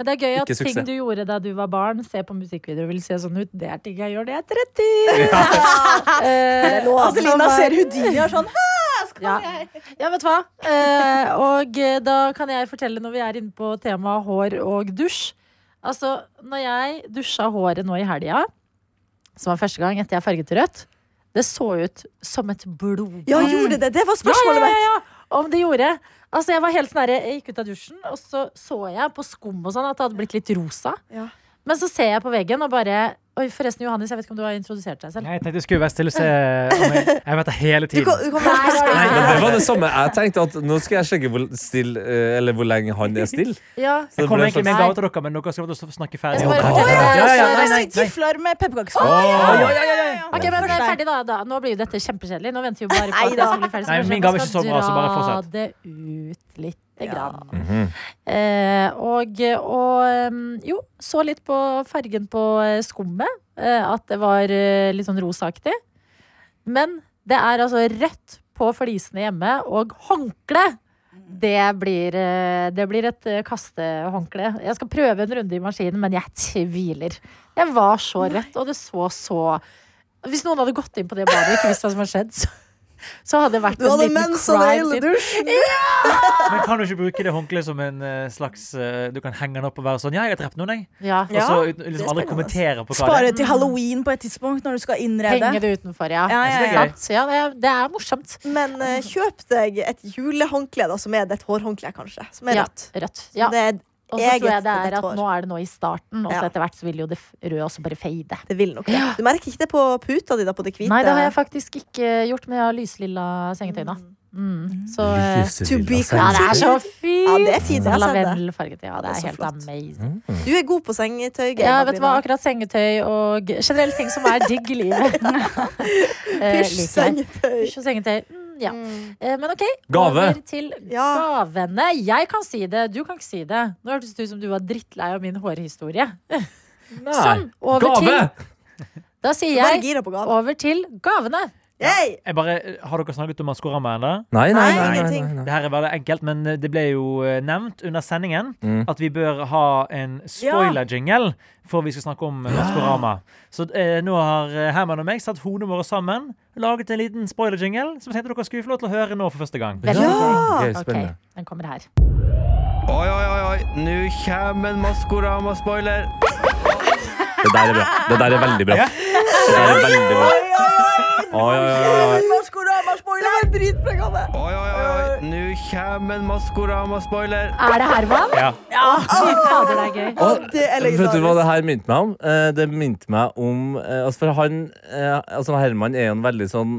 Speaker 2: Men det er gøy at
Speaker 5: Ikke suksess.
Speaker 2: ting du gjorde da du var barn, se på musikkvideoer og vil se sånn ut. Det er ting jeg gjør når jeg er 30! <laughs> Eh,
Speaker 4: Adelina ser Houdini og er sånn
Speaker 2: ja. ja, vet du hva? Eh, og eh, da kan jeg fortelle når vi er inne på temaet hår og dusj. Altså, når jeg dusja håret nå i helga, som var første gang etter jeg farget det rødt, det så ut som et blod.
Speaker 3: Ja, gjorde det! Det var spørsmålet mitt!
Speaker 2: ja, ja. Om det gjorde. Altså, jeg var helt sånn her, jeg gikk ut av dusjen, og så så jeg på skum og sånn at det hadde blitt litt rosa.
Speaker 3: Ja.
Speaker 2: Men så ser jeg på veggen og bare Oi, forresten, Johannes, jeg vet ikke om du har introdusert deg selv.
Speaker 6: Nei, Jeg tenkte jeg skulle være stille og se om jeg, jeg vet det hele
Speaker 3: Du kan,
Speaker 6: tiden.
Speaker 3: du kan være
Speaker 5: Nei,
Speaker 3: spørsmål.
Speaker 5: men det var det samme. Jeg tenkte at nå skal jeg sjekke hvor, still, eh, eller hvor lenge han er stille.
Speaker 2: Ja.
Speaker 5: Så det
Speaker 6: Jeg kom
Speaker 5: ble
Speaker 6: egentlig med
Speaker 5: sånn-
Speaker 6: en gave til dere, men dere skal få lov til å snakke
Speaker 2: Jeg
Speaker 6: ferdig.
Speaker 2: skal bare
Speaker 6: Ja,
Speaker 2: fortelle
Speaker 6: ja,
Speaker 2: deg,
Speaker 6: ja, ja,
Speaker 2: så-
Speaker 6: nei, nei, nei.
Speaker 4: Gifler med pepperkakesmak.
Speaker 2: Ok, men det er ferdig da, da. Nå blir jo dette kjempekjedelig. Nå venter vi jo bare på at det skal bli ferdig.
Speaker 6: Nei,
Speaker 2: kanskje
Speaker 6: min gave er
Speaker 2: jeg
Speaker 6: ikke så
Speaker 2: skal
Speaker 6: bra, så bare
Speaker 2: dra
Speaker 6: fortsett. Mhm.
Speaker 2: det ut lite
Speaker 3: Ja.
Speaker 2: grann. eh, og, og um, jo, så litt på fargen på eh, skummet. Eh, at det var eh, litt sånn rosaaktig. Men det er altså rødt på flisene hjemme, og håndkle! Det blir, eh, det blir et eh, kastehåndkle. Jeg skal prøve en runde i maskinen, men jeg tviler. Jeg var så rødt, og det så så Hvis noen hadde gått inn på det badet og ikke visst hva som hadde skjedd, så, så hadde det vært
Speaker 3: Du hadde
Speaker 2: en liten
Speaker 3: mens og det
Speaker 2: crime
Speaker 3: hele
Speaker 2: scene.
Speaker 3: dusjen!
Speaker 6: Men kan du ikke bruke det håndkleet som en eh, slags eh, Du kan henge den opp og være sånn Ja, jeg har drept noen, jeg.
Speaker 2: Ja.
Speaker 6: Og så uten-
Speaker 3: det er
Speaker 6: liksom aldri
Speaker 3: spennende.
Speaker 6: kommentere på hva det
Speaker 4: Spare til halloween på et tidspunkt når du skal innrede.
Speaker 2: Henge det utenfor, ja.
Speaker 4: Ja, ja,
Speaker 6: ja.
Speaker 2: Sant? ja det, er, det er morsomt.
Speaker 3: Men eh, kjøp deg et julehåndkle, da, som er ditt hårhåndkle, kanskje. Som er
Speaker 2: Ja,
Speaker 3: rødt.
Speaker 2: rødt. Ja.
Speaker 3: Det, er
Speaker 2: Og så tror jeg
Speaker 3: eget
Speaker 2: det er
Speaker 3: rødt
Speaker 2: at
Speaker 3: hår.
Speaker 2: nå er det nå i starten, og så
Speaker 3: Ja.
Speaker 2: etter hvert så vil jo det f- røde også bare fade.
Speaker 3: det vil nok det. Du merker ikke det på puta di, da, på det hvite?
Speaker 2: Nei, det har jeg faktisk ikke eh, gjort, men jeg har lyslilla sengetøy nå. Mm. Så eh,
Speaker 5: Lyset
Speaker 3: to
Speaker 5: vil
Speaker 3: be
Speaker 5: ha seg.
Speaker 2: Ja, det er så fint!
Speaker 3: Ja, det er fint. Jeg har sett det.
Speaker 2: Lavendelfarget. Ja, det
Speaker 3: Det
Speaker 2: er
Speaker 3: er så
Speaker 2: helt
Speaker 3: flott. Mm.
Speaker 2: amazing.
Speaker 3: Du er god på sengetøy.
Speaker 2: Ja,
Speaker 3: Gabriel.
Speaker 2: vet du hva, akkurat sengetøy og generelle ting som er digg i
Speaker 3: <laughs>
Speaker 2: livet. Eh,
Speaker 3: Pysj,
Speaker 2: liker jeg.
Speaker 3: sengetøy.
Speaker 2: Pysj og sengetøy. Mm, ja.
Speaker 3: Mm.
Speaker 2: Eh, Men OK,
Speaker 5: Gave.
Speaker 2: over til
Speaker 3: Ja.
Speaker 2: gavene. Jeg kan si det, du kan ikke si det. Nå hørtes det ut som du var drittlei av min hårhistorie. Sånn, over
Speaker 5: Gave!
Speaker 2: til Da sier
Speaker 3: Bare
Speaker 2: jeg
Speaker 3: gira på gaven.
Speaker 2: over til gavene.
Speaker 3: Yay!
Speaker 6: Jeg bare, har dere snakket om Maskorama ennå?
Speaker 3: Nei,
Speaker 5: Nei, nei, nei. nei, nei,
Speaker 3: ingenting.
Speaker 5: nei.
Speaker 6: Det her er veldig enkelt, men det ble jo eh, nevnt under sendingen
Speaker 5: Mm.
Speaker 6: at vi bør ha en spoiler-jingle for vi skal snakke om Maskorama. Så eh, nå har eh, Herman og meg satt hodene våre sammen, laget en liten spoiler-jingle som jeg tenkte dere skulle få lov til å høre nå for første gang.
Speaker 2: Veldig
Speaker 5: Ja!
Speaker 2: gøy.
Speaker 5: Ok,
Speaker 2: Ok,
Speaker 5: spennende.
Speaker 2: den kommer her.
Speaker 7: Oi, oi, oi, oi. nå kommer en Maskorama-spoiler.
Speaker 5: Det der er bra. Det der er veldig bra. Det der er veldig bra. Oi, oi, oi, oi.
Speaker 3: Det var en dritbra gave.
Speaker 7: Oi, oi, oi, oi. nå kommer en Maskorama-spoiler.
Speaker 2: Er det Herman?
Speaker 6: Ja.
Speaker 3: Ah!
Speaker 2: Fy fader, det er gøy.
Speaker 5: Og,
Speaker 3: det er
Speaker 5: vet du hva
Speaker 3: legendarisk.
Speaker 5: det her minte meg om? Eh, Det minte meg om eh, altså For han, eh, altså Herman er jo en veldig sånn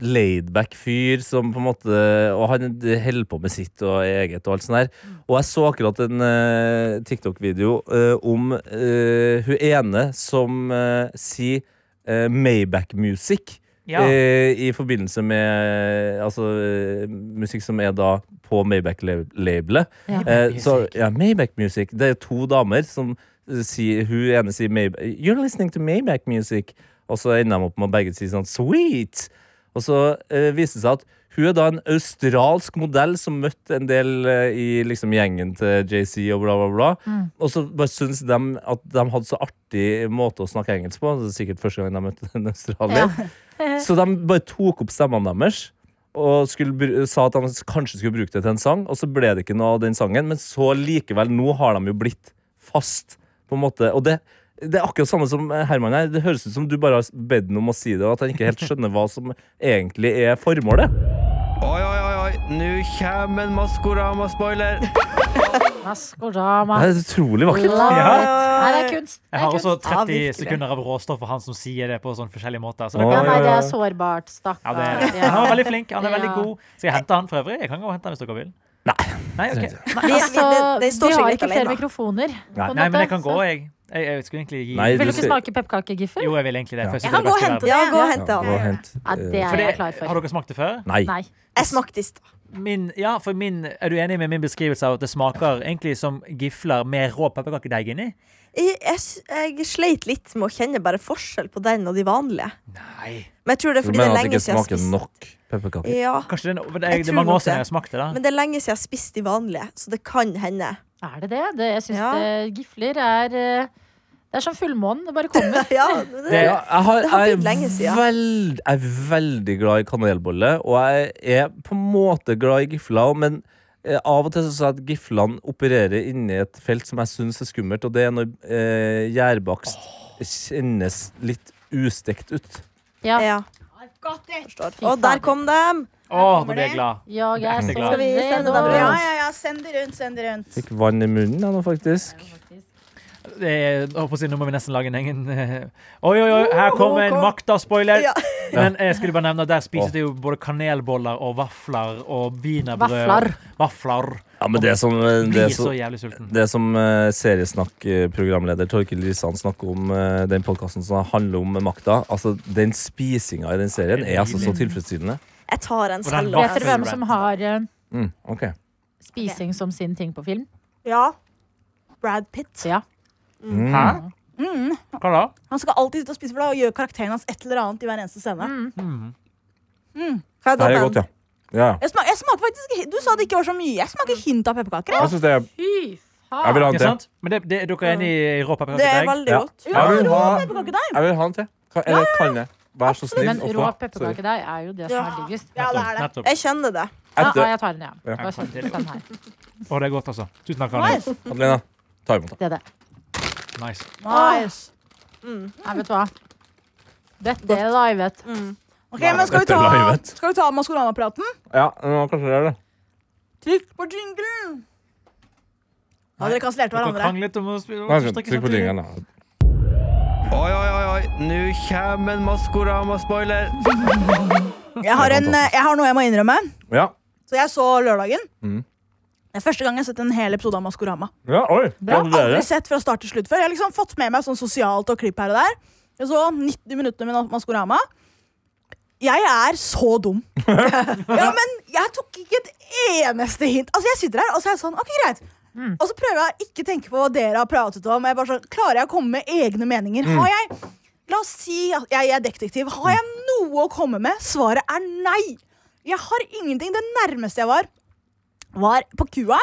Speaker 5: laidback fyr som på en måte Og han holder på med sitt og eget og alt sånt der. Og jeg så akkurat en eh, TikTok-video eh, om eh, hun ene som eh, sier eh, Maybach Music.
Speaker 6: Ja.
Speaker 5: Eh, I forbindelse med eh, altså, eh, musikk som er da på Maybach-labelet.
Speaker 2: Ja.
Speaker 5: Eh, så, ja, Maybach Music. Det er to damer som eh, sier Hun ene sier Mayb You're listening to Maybach Music. Og så ender de opp med å begge si sånn sweet. Og så eh, viser det seg at hun er da en australsk modell som møtte en del eh, i liksom gjengen til JC og bla, bla, bla. Og så bare syns de at de hadde så artig måte å snakke engelsk på. Det er sikkert første gang de møtte en australier. Så de bare tok opp stemmene deres. og skulle, bru- sa at han kanskje skulle bruke det til en sang, og så ble det ikke noe av den sangen. Men så likevel, nå har de jo blitt fast, på en måte. Og det, det er akkurat samme som eh, Herman her. Det høres ut som du bare har bedt ham om å si det, og at han ikke helt skjønner hva som egentlig er formålet.
Speaker 7: Oi, oi, oi, oi. nå kommer en Maskorama-spoiler.
Speaker 2: Maskorama.
Speaker 5: Det er utrolig vakkert.
Speaker 2: Nei, det er kunst. Det
Speaker 6: Jeg
Speaker 2: er
Speaker 6: har også
Speaker 2: kunst.
Speaker 6: 30
Speaker 3: virkelig.
Speaker 6: sekunder av råstoff for han som sier det på sånn forskjellige måter. Så det
Speaker 5: Oi.
Speaker 2: Ja,
Speaker 6: kan,
Speaker 2: nei, det er sårbart. Stakkar.
Speaker 6: ja, det er det. Han var veldig flink. Han er
Speaker 2: Ja.
Speaker 6: veldig god. Skal jeg hente han for øvrig? Jeg kan gå og hente han hvis dere vil. Nei. ok.
Speaker 3: Nei, altså,
Speaker 2: Så
Speaker 3: det, det står
Speaker 2: vi
Speaker 3: seg
Speaker 2: har
Speaker 3: litt
Speaker 2: ikke flere
Speaker 3: alene.
Speaker 2: mikrofoner. på en
Speaker 6: Nei,
Speaker 2: måte,
Speaker 6: men jeg kan gå,
Speaker 2: så-
Speaker 6: jeg. Jeg, jeg skulle egentlig gi
Speaker 5: Nei,
Speaker 2: Vil du
Speaker 5: ser-
Speaker 2: ikke smake pepperkakegiffer?
Speaker 6: Jo, jeg vil egentlig det. for
Speaker 5: Ja.
Speaker 6: Jeg, synes
Speaker 4: Jeg kan
Speaker 6: det er
Speaker 4: gå og
Speaker 6: best i
Speaker 4: hente
Speaker 6: verden.
Speaker 3: Ja,
Speaker 4: det.
Speaker 3: gå og hent
Speaker 5: Ja,
Speaker 3: han.
Speaker 5: gå og hent.
Speaker 2: Ja, det
Speaker 5: eh,
Speaker 2: er
Speaker 6: For
Speaker 2: jeg
Speaker 6: det-
Speaker 2: klar for.
Speaker 6: Har dere smakt det før?
Speaker 5: Nei.
Speaker 2: Nei.
Speaker 3: Jeg smakte i stad.
Speaker 6: Min, ja, for min, er du enig med min beskrivelse av at det smaker egentlig som gifler med rå pepperkakedeig inni?
Speaker 3: Jeg, jeg, s- jeg sleit litt med å kjenne bare forskjell på den og de vanlige.
Speaker 6: Nei.
Speaker 3: Men jeg tror det er
Speaker 5: Du
Speaker 3: fordi det er
Speaker 5: mener at det
Speaker 3: lenge
Speaker 5: ikke
Speaker 3: siden jeg har
Speaker 5: smaker
Speaker 3: spist
Speaker 5: nok pepperkaker?
Speaker 3: Ja,
Speaker 6: Kanskje det, er no- men det,
Speaker 3: Jeg
Speaker 6: er- det
Speaker 3: tror
Speaker 6: er mange
Speaker 3: nok
Speaker 6: år siden
Speaker 3: det.
Speaker 6: jeg smakte det.
Speaker 3: men det er lenge siden jeg har spist de vanlige, så det kan hende. <laughs>
Speaker 2: Er det det? det jeg syns
Speaker 3: Ja.
Speaker 2: det- gifler er eh, Det er som fullmånen. Det bare
Speaker 3: <laughs>
Speaker 2: kommer.
Speaker 3: Ja, det,
Speaker 6: Det-
Speaker 5: Ja, jeg, har,
Speaker 3: Det har
Speaker 5: jeg,
Speaker 3: blitt lenge
Speaker 5: er
Speaker 3: siden.
Speaker 5: veld, jeg er veldig glad i kanelbolle, og jeg er på en måte glad i gifler. Men eh, av og til så sa jeg at giflene opererer inni et felt som jeg syns er skummelt, og det er når eh, gjærbakst kjennes litt ustekt ut.
Speaker 3: ja. Forstår. Og der kom dem!
Speaker 6: Å,
Speaker 4: kommer
Speaker 6: nå blir jeg
Speaker 4: det.
Speaker 6: glad.
Speaker 2: Jeg er så
Speaker 6: Skal vi
Speaker 3: sende
Speaker 2: redd
Speaker 3: dem
Speaker 2: nå.
Speaker 3: rundt?
Speaker 4: Ja, ja, ja, send det rundt, send det rundt.
Speaker 5: Fikk vann i munnen jeg nå, faktisk.
Speaker 6: Det er, jeg håper å si, nå må vi nesten lage en egen eh, Oi, oi, oi, her kommer en makta-spoiler.
Speaker 3: Ja.
Speaker 6: <laughs> Men jeg skulle bare nevne at der
Speaker 5: Å.
Speaker 6: spises det jo både kanelboller og vafler og wienerbrød.
Speaker 2: Vafler.
Speaker 6: Vafler.
Speaker 5: Ja, men det er som, eh, det
Speaker 6: Blir
Speaker 5: er så,
Speaker 6: så jævlig sulten.
Speaker 5: det er som eh, seriesnakk-programleder Torkil Risan snakker om eh, den podkasten som handler om makta. Altså, Den spisinga i den serien er altså så tilfredsstillende.
Speaker 3: Jeg tar en
Speaker 6: Og den
Speaker 3: selv.
Speaker 2: Vet dere
Speaker 6: vaffel-
Speaker 2: hvem som har eh,
Speaker 5: Mm, ok
Speaker 2: spising som sin ting på film?
Speaker 3: Ja. Brad Pitt.
Speaker 2: Ja.
Speaker 5: Mm.
Speaker 6: Hæ? Hva da?
Speaker 4: Han skal alltid sitte og spise, for da gjør karakteren hans et eller annet i hver eneste scene.
Speaker 6: Mm.
Speaker 3: Hva er
Speaker 5: Det her er
Speaker 3: dommen?
Speaker 5: godt, ja. ja. ja.
Speaker 4: Jeg, smak, jeg smaker faktisk, Du sa det ikke var så mye. Jeg smaker hint av pepperkaker. jeg.
Speaker 5: Jeg synes det er
Speaker 2: Fy
Speaker 5: Jeg vil
Speaker 2: faen.
Speaker 5: ha en
Speaker 6: Ikke
Speaker 5: til.
Speaker 6: sant? Men det, det, er dere enig i rå
Speaker 3: Det er
Speaker 6: pepperkakedeig?
Speaker 3: veldig
Speaker 5: Ja.
Speaker 3: godt.
Speaker 5: Jeg vil ha,
Speaker 4: Pepperkakedeig.
Speaker 5: jeg vil ha en til. Kan, eller kan jeg? Vær så snill.
Speaker 2: Men
Speaker 5: og
Speaker 2: rå
Speaker 5: få- Sorry.
Speaker 2: pepperkakedeig er jo det som er
Speaker 4: Ja.
Speaker 2: diggest.
Speaker 4: Ja, det er det.
Speaker 6: Nettopp.
Speaker 3: Jeg kjenner det.
Speaker 2: Ja,
Speaker 5: Jeg
Speaker 2: ja,
Speaker 5: dør.
Speaker 2: jeg tar den, ja.
Speaker 5: Ja.
Speaker 2: Bare sånn, den her.
Speaker 6: Å, det er godt, altså. Tusen takk, Arne.
Speaker 4: Nice.
Speaker 5: Adelina, ta imot.
Speaker 2: Det er det.
Speaker 6: Nice.
Speaker 4: Nice.
Speaker 2: Nei, vet du hva. Dette er livet.
Speaker 4: Ok, men skal vi
Speaker 5: Dette er
Speaker 4: ta,
Speaker 5: livet.
Speaker 4: skal vi ta Maskorama-praten?
Speaker 5: Ja, nå kanskje det er det.
Speaker 4: Trykk på jinglen! Ja, dere kansellerte
Speaker 6: Dere
Speaker 4: hverandre.
Speaker 6: kranglet om å spille
Speaker 5: Nei, Trykk på
Speaker 6: sånn
Speaker 5: jingeren, da.
Speaker 7: Oi, oi, oi, oi. nå kommer en Maskorama-spoiler.
Speaker 4: Jeg har, en, eh, jeg har noe jeg må innrømme.
Speaker 5: Ja.
Speaker 4: Så jeg så lørdagen.
Speaker 5: Mhm.
Speaker 4: Det er første gang jeg har sett en hel episode av Maskorama.
Speaker 5: ja, oi.
Speaker 4: Jeg har
Speaker 5: Gratulerer.
Speaker 4: aldri sett fra start til slutt før. Jeg har liksom fått med meg sånn sosialt og klipp her og der. Jeg så 90 minutter med Maskorama. Jeg er så dum. ja, men jeg tok ikke et eneste hint. Altså, Jeg sitter her og så er jeg sånn, ok, greit. Og så prøver jeg å ikke tenke på hva dere har pratet om. Jeg bare sånn, Klarer jeg å komme med egne meninger? Har jeg, La oss si at jeg er detektiv. Har jeg noe å komme med? Svaret er nei. Jeg har ingenting. Det nærmeste jeg var, var på kua.